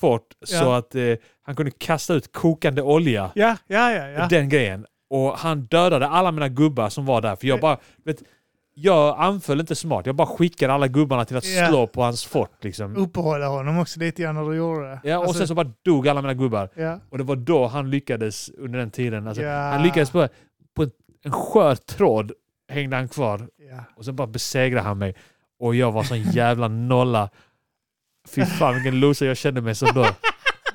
S2: fort så
S1: Ja.
S2: att eh, han kunde kasta ut kokande olja.
S1: Ja, ja, ja. ja.
S2: Den grejen. Och han dödade alla mina gubbar som var där. För jag bara, vet, jag anföll inte smart. Jag bara skickade alla gubbarna till att
S1: Ja.
S2: slå på hans fort. Liksom.
S1: Uppehålla honom också lite grann när du gjorde det.
S2: Ja, och
S1: Alltså,
S2: sen så bara dog alla mina gubbar.
S1: ja.
S2: Och det var då han lyckades under den tiden. Alltså,
S1: Ja.
S2: Han lyckades på, på en, en skör tråd hängde han kvar.
S1: Ja.
S2: Och sen bara besegrade han mig. Och
S1: (laughs)
S2: jag var sån jävla nolla. Fy fan vilken loser jag kände mig som då.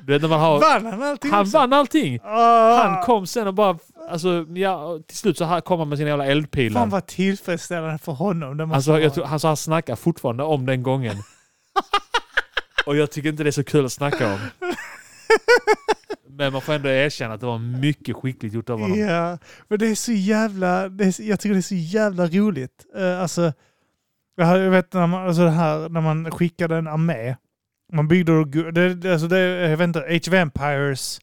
S2: Du vet när man har...
S1: Vann han allting
S2: Han
S1: också?
S2: vann allting!
S1: Ah.
S2: Han kom sen och bara... Alltså, ja, till slut så här kom han med sina jävla eldpilar.
S1: Fan vad tillfredsställande för honom. Det måste
S2: Alltså,
S1: vara.
S2: jag tror, alltså han snackar fortfarande om
S1: (laughs)
S2: den gången. Och jag tycker inte det är så kul att snacka om. Men man får ändå erkänna att det var mycket skickligt gjort av honom.
S1: Ja, men det är så jävla, det är, så- jag tycker det är så jävla Eh, roligt. Uh, alltså, jag har- jag vet när man, alltså det här, när man skickade en armé Man byggde då, gu- det, det, alltså det, jag vet inte, Age of Empires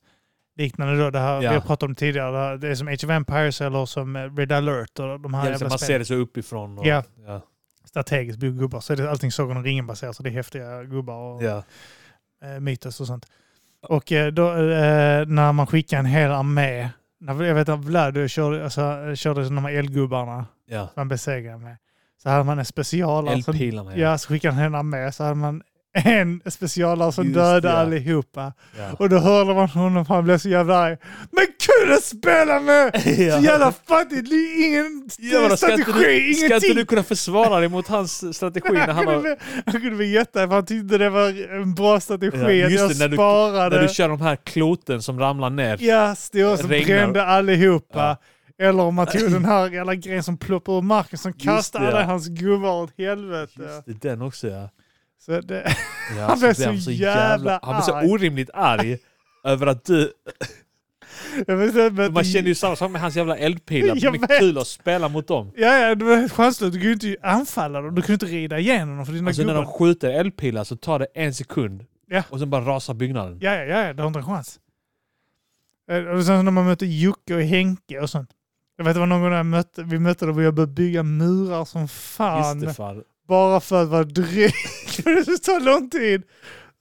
S1: liknande då, det här
S2: Ja.
S1: vi har pratat om tidigare. Det, här, det är som Age of Empires eller som eh, Red Alert och de här
S2: Ja, så
S1: jävla
S2: man
S1: spelen.
S2: ser det så uppifrån. Och,
S1: Ja.
S2: Ja.
S1: Strategiskt bygger gubbar. Så är det allting Sagan om ringen baserat, så det är häftiga gubbar och
S2: Ja.
S1: eh, Mythos och sånt. Och eh, då, eh, när man skickar en hel armé, när, jag vet att Vlad körde, alltså, körde de här eldgubbarna
S2: Ja.
S1: man besegrade med, så hade man en special. alltså-
S2: Eldpilarna, ja.
S1: Ja, så skickade han henne med så hade man en specialare som
S2: Just
S1: dödade
S2: det.
S1: allihopa.
S2: ja.
S1: Och då hörde man honom, han blev så jävla arg. Men kul att spela
S2: (laughs)
S1: med! Så jävla fattigt, det är ingen
S2: Jävlar, ska, inte
S1: strategi,
S2: du, ska inte
S1: ingenting!
S2: du kunna försvara dig mot hans strategi när
S1: Han
S2: han har,
S1: kunde, han kunde bli jättearg för han tyckte det var en bra strategi
S2: Ja, just
S1: att jag
S2: det, när du-
S1: sparade.
S2: när du kör de här kloten som ramlar ner?
S1: Ja, stod som
S2: Regnar.
S1: brände allihopa. Eller om man tog den här jävla grejen som ploppade ur marken som kastade
S2: det, ja.
S1: alla hans gubbar åt helvete.
S2: Just det, den också ja.
S1: Så det, (laughs)
S2: ja
S1: Han blev så jävla
S2: Han blev
S1: arg.
S2: så orimligt arg över att du...
S1: jag vet inte, men
S2: Man känner ju samma sak med hans jävla eldpilar.
S1: (laughs) Jag
S2: Det är
S1: vet.
S2: kul att spela mot dem.
S1: Ja, ja, det var helt chanslöst. Du kunde ju inte anfalla dem. Du kunde inte rida igenom dem för dina
S2: Alltså när
S1: gubbar.
S2: de skjuter eldpilar så tar det en sekund.
S1: Ja.
S2: Och sen bara rasar byggnaden.
S1: Ja, ja, ja, du har inte en chans. Eh, Och sen när man mötte Jocke och Henke och sånt. Jag vet det var någon gång när jag mötte, vi mötte dem och jag började bygga murar som fan.
S2: Just det fan.
S1: Bara för att vara dryg. (laughs) För det tar lång tid.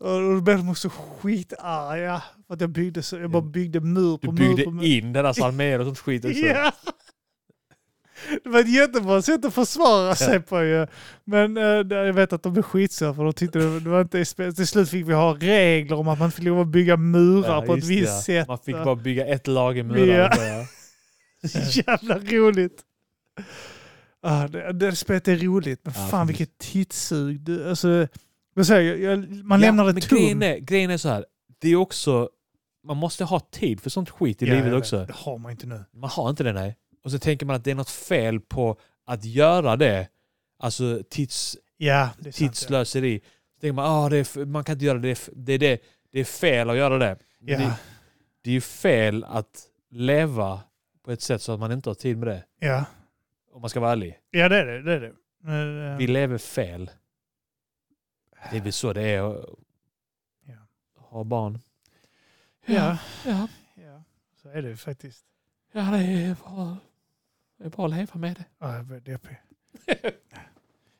S1: Och då blev de också skitarga. För att jag byggde så, jag bara byggde mur på
S2: Du
S1: mur på mur.
S2: byggde in deras arméer och sånt skit också.
S1: (laughs) Ja. Det var ett jättebra sätt att försvara sig på ju. Men eh, det- jag vet att de blev skitsura för de tyckte det, det var inte i spel. Till slut fick vi ha regler om att man inte fick lov att bygga murar
S2: Ja,
S1: på ett
S2: just
S1: visst
S2: det, ja.
S1: sätt.
S2: Man fick bara bygga ett lager murar.
S1: Ja.
S2: och börja- Eh.
S1: Jävla roligt. Ah, det, det spelet är roligt, men
S2: Ja,
S1: fan
S2: fan.
S1: vilket tidssug. Du, alltså, vad säger jag, jag, (laughs) man lämnar det
S2: men
S1: tomt.
S2: grejen är, grejen är så här. Det är också... Man måste ha tid för sånt skit i
S1: Ja, jag
S2: livet
S1: vet.
S2: också.
S1: Det har man inte nu.
S2: Man har inte det, nej. Och så tänker man att det är något fel på att göra det. Alltså tids,
S1: Ja, det är sant. ja.
S2: tidsslöseri. Så tänker man, ah, det är, f- man kan inte göra det. Det är, f- det är, det, det är fel att göra det. Men
S1: Ja,
S2: Det, det är ju fel att leva på ett sätt så att man inte har tid med det.
S1: ja.
S2: Om man ska vara ärlig.
S1: ja, det är det. det, är det. Men, eh,
S2: Vi lever fel. Det är väl så det är att
S1: Ja.
S2: ha barn.
S1: ja.
S2: Ja,
S1: Ja, så är det ju faktiskt.
S2: ja det, är bara, det är bara att leva med det.
S1: Ja, jag blir deppig.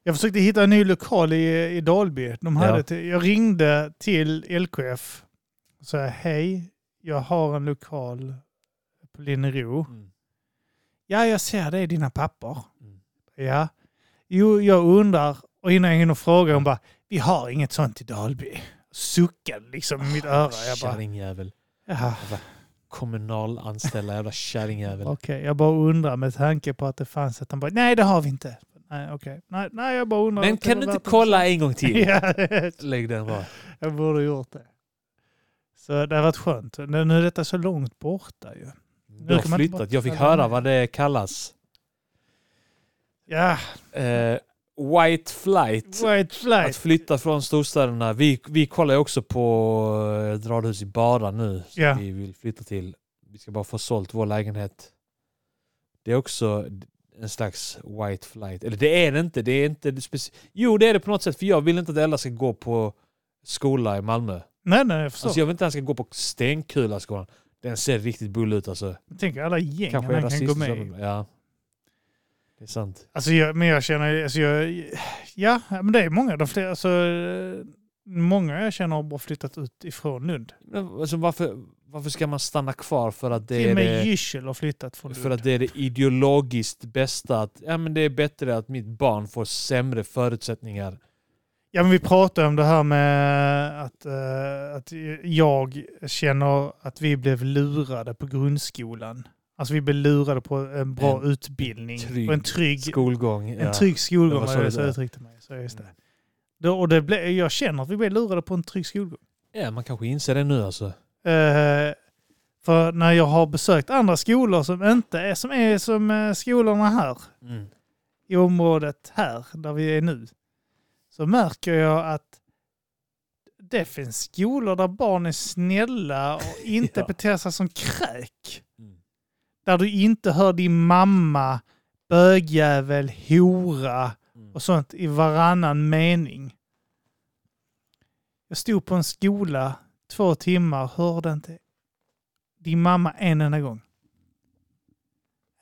S1: Jag försökte hitta en ny lokal i, i Dalby. De hade
S2: Ja.
S1: till, jag ringde till LKF och sa hej, jag har en lokal på Linnero.
S2: Mm.
S1: Ja, jag ser det i dina papper.
S2: Mm.
S1: Ja. Jo, jag undrar, och innan jag hinner fråga, hon bara, vi har inget sånt i Dalby. Suckade liksom i
S2: Ah,
S1: mitt öra. Jag bara,
S2: Kärringjävel.
S1: ja,
S2: Kommunalanställda jävla kärringjävel.
S1: Okej, jag bara undrar med tanke på att det fanns att de bara, nej det har vi inte. Nej, okej. Nej, nej, jag bara undrar.
S2: Men
S1: om
S2: kan
S1: det
S2: du
S1: var
S2: inte
S1: värt att
S2: kolla en gång till?
S1: försöka. (laughs) Ja,
S2: Lägg den bara.
S1: jag borde gjort det. Så det har varit skönt. Nu nu är detta så långt borta ju.
S2: Du har
S1: kan man inte bara
S2: flyttat. Jag fick
S1: ställa
S2: höra
S1: den.
S2: vad det kallas.
S1: Ja,
S2: Eh, white flight.
S1: white
S2: Att
S1: flight.
S2: flytta från storstäderna. Vi, vi kollar ju också på ett radhus i Bara nu. Som
S1: Ja.
S2: Vi vill flytta till. Vi ska bara få sålt vår lägenhet. Det är också en slags white flight. Eller det är det inte. Det är inte speci- jo, det är det på något sätt. För jag vill inte att Ella ska gå på skola i Malmö.
S1: Nej, nej, jag förstår.
S2: Alltså, jag vill inte att han ska gå på Stenkulaskolan. Den ser riktigt bull ut alltså.
S1: Tänk alla gäng
S2: Kanske är
S1: han kan gå
S2: rasistisk.
S1: med i.
S2: Ja. Det är sant.
S1: Alltså, jag, men jag känner, alltså, jag, ja, men det är många. De fler, alltså, eh, många jag känner har bara flyttat ut ifrån Lund.
S2: Men, alltså, varför, varför ska man stanna kvar för att det
S1: Till
S2: är
S1: och
S2: det...
S1: med Gyssel har flyttat från Lund.
S2: För att det är det ideologiskt bästa. Att, ja, men det är bättre att mitt barn får sämre förutsättningar.
S1: Ja, men vi pratade om det här med att, eh, att jag känner att vi blev lurade på grundskolan. Alltså vi blev lurade på en bra
S2: En
S1: utbildning
S2: trygg
S1: och en trygg,
S2: Skolgång.
S1: en
S2: ja.
S1: trygg
S2: Det
S1: skolgång.
S2: var så
S1: var det
S2: det
S1: så
S2: var.
S1: jag uttryckte mig. Så just
S2: Mm.
S1: det. Då, och det blev, jag känner att vi blev lurade på en trygg skolgång.
S2: Ja, man kanske inser det nu alltså.
S1: Eh, för när jag har besökt andra skolor som inte är som, är som eh, skolorna här
S2: Mm.
S1: i området här, där vi är nu, så märker jag att det finns skolor där barn är snälla och
S2: (laughs)
S1: inte
S2: Ja.
S1: beter sig som kräk.
S2: Mm.
S1: Där du inte hör din mamma, bögjävel, hora
S2: Mm.
S1: och sånt i varannan mening. Jag stod på en skola två timmar, hörde inte din mamma en enda gång.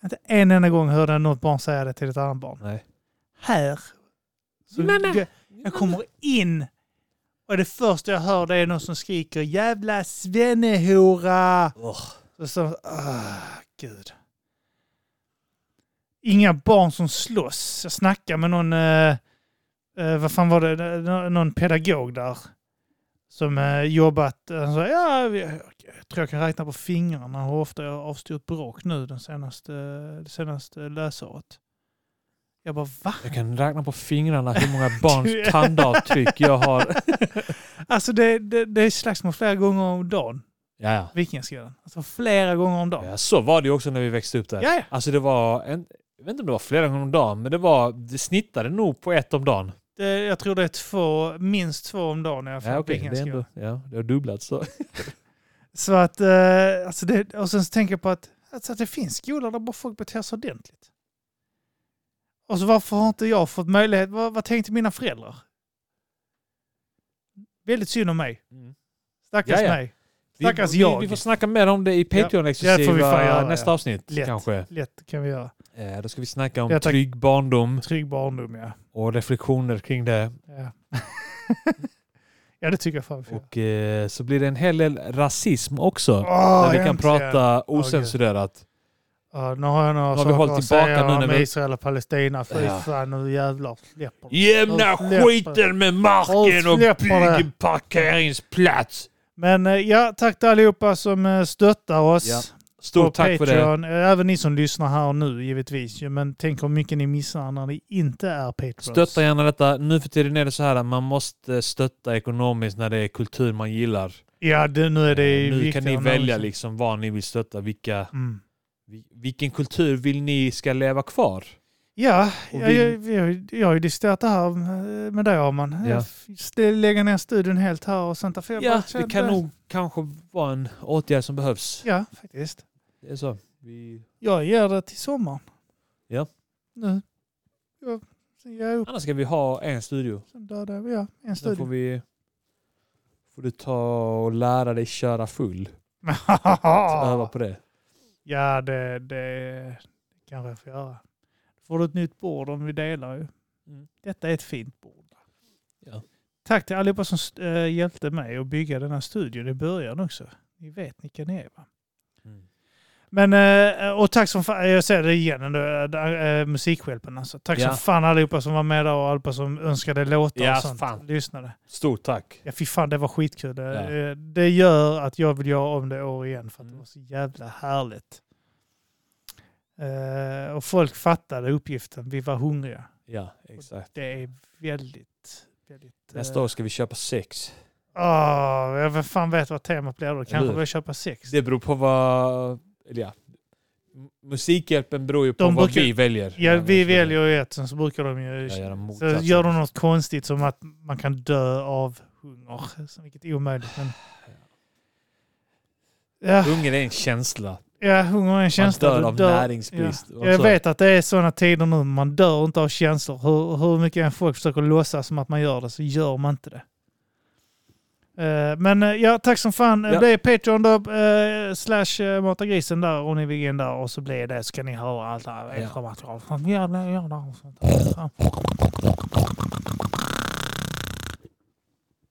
S1: Inte en enda gång hörde jag något barn säga det till ett annat barn.
S2: Nej.
S1: Här. Så
S2: Mamma.
S1: jag, jag kommer in och det första jag hör det är någon som skriker jävla svennehora.
S2: Åh,
S1: Så, så, ah, gud. Inga barn som slåss. Jag snackade med någon, eh, eh, vad fan var det, Nå- någon pedagog där. Som eh, jobbat, han sa, ja, vi- jag tror jag kan räkna på fingrarna hur ofta jag har avstyrt bråk nu den senaste, det senaste läsåret. Jag bara, va?
S2: jag kan räkna på fingrarna hur många
S1: Du- (laughs)
S2: barns tandavtryck jag har.
S1: Alltså det, det, det är slagsmål flera gånger om dagen,
S2: Ja, ja.
S1: Vikingaskolan. Alltså flera gånger om dagen.
S2: ja, så var det ju också när vi växte upp där.
S1: Ja, ja.
S2: Alltså det var, en, jag vet inte om det var flera gånger om dagen, men det var, det snittade nog på ett om dagen.
S1: Det, jag tror det är två, minst två om dagen när jag
S2: Ja,
S1: får
S2: okej, det, är
S1: Vikingaskolan.
S2: ändå, ja, det har dubblats.
S1: Mm.
S2: Så.
S1: Så att, eh, alltså det, och sen så tänker jag på att, alltså att det finns skolor där bara folk beter sig ordentligt. Och så varför har inte jag fått möjlighet, vad, vad tänkte mina föräldrar? Väldigt synd om mig.
S2: Mm.
S1: Stackars
S2: Ja, ja.
S1: mig.
S2: Vi,
S1: Stackars
S2: vi,
S1: jag.
S2: vi får snacka mer om det i
S1: Ja, det får vi
S2: Patreon-exklusiva
S1: fan göra,
S2: nästa
S1: ja.
S2: avsnitt
S1: Lätt.
S2: kanske.
S1: Lätt kan vi göra.
S2: Eh, då ska vi snacka om
S1: Ja, tack.
S2: trygg barndom
S1: Trygg barndom, ja.
S2: och reflektioner kring det.
S1: Ja, ja det tycker jag fan vi får göra.
S2: Och eh, så blir det en hel del rasism också.
S1: Åh,
S2: där vi kan
S1: äntligen.
S2: prata osensurerat.
S1: Ja, nu har jag några
S2: har vi
S1: saker
S2: hållit
S1: att
S2: tillbaka
S1: säga
S2: nu när
S1: om
S2: vi-
S1: Israel och Palestina. Fy
S2: Ja.
S1: fan, nu jävlar släpper det.
S2: Jämna
S1: Och släpper-
S2: skiten med marken
S1: och
S2: och
S1: släpper
S2: bygg en parkeringsplats!
S1: Men eh, ja, tack till allihopa som eh, stöttar oss.
S2: Ja. Stort tack för det.
S1: för det. Även ni som lyssnar här nu givetvis. ju, Men tänk hur mycket ni missar när ni inte är Patreons.
S2: Stötta gärna detta. Nu för tiden är det så här att man måste stötta ekonomiskt när det är kultur man gillar.
S1: Ja, det, nu är det
S2: Eh, nu
S1: viktigare
S2: kan ni
S1: än
S2: välja
S1: någonsin.
S2: liksom vad ni vill stötta. Vilka,
S1: Mm.
S2: vi- vilken kultur vill ni ska leva kvar?
S1: Ja,
S2: Och
S1: jag,
S2: vill-
S1: jag, jag, jag har ju diskuterat det här eh, med dig Arman.
S2: Ja.
S1: Ja. Lägga ner studion helt här och sånt. där, För jag bara
S2: Ja, det
S1: kände-
S2: kan nog kanske vara en åtgärd som behövs.
S1: Ja, faktiskt.
S2: Det är så. Vi...
S1: Jag ger det till sommaren.
S2: Ja.
S1: Nu. Ja, sen ger jag upp.
S2: Annars ska vi ha en studio.
S1: Sen dödar jag ja, en
S2: Sen
S1: (laughs)
S2: får
S1: studio.
S2: vi... Får du ta och lära dig köra full.
S1: Ah.
S2: Öva på det.
S1: Ja, det, det kanske jag får göra. Får du ett nytt bord om vi delar ju.
S2: Mm.
S1: Detta är ett fint bord.
S2: Ja.
S1: Tack till allihopa som eh, hjälpte mig att bygga den här studion i början också. Ni vet vilka ni är va?
S2: Mm.
S1: Men, eh, och tack som fan, jag säger det igen ändå, eh, eh, Musikhjälpen alltså. Tack
S2: Ja.
S1: som fan allihopa som var med där och allihopa som önskade låtar
S2: Ja,
S1: och sånt.
S2: fan.
S1: Lyssnade.
S2: Stort tack.
S1: Ja fy fan det var skitkul. Det,
S2: Ja.
S1: eh, det gör att jag vill göra om det år igen för att det
S2: Mm.
S1: var så jävla härligt. Eh, och folk fattade uppgiften, vi var hungriga.
S2: Ja, exakt.
S1: Det är väldigt, väldigt...
S2: Nästa år ska vi köpa sex.
S1: Oh, jag vet- fan vet vad temat blir då. Kanske
S2: hur?
S1: börja köpa sex.
S2: Det beror på vad... Eller ja. M- Musikhjälpen beror ju på
S1: De
S2: vad
S1: brukar-
S2: vi väljer.
S1: Ja, vi
S2: skulle-
S1: väljer ju ett, sen så brukar de ju...
S2: Ja, göra
S1: så
S2: motsatsen.
S1: gör de något konstigt som att man kan dö av hunger. Så Vilket är omöjligt. Men... Ja,
S2: Hunger är en känsla.
S1: ja, hunger är en känsla.
S2: Man
S1: Du
S2: dör av näringsbrist.
S1: Ja.
S2: Och
S1: Jag
S2: så-
S1: vet att det är sådana tider nu. Man dör inte av känslor. Hur, hur mycket än folk försöker låtsas som att man gör det så gör man inte det. Eh, Men eh, ja, tack som fan.
S2: Ja.
S1: Det är Patreon då, eh, slash eh, Mata Grisen där om ni vill gå in där och så blir det så kan ni höra allt det här extra material. Fan, jävla, jävla, och sånt där.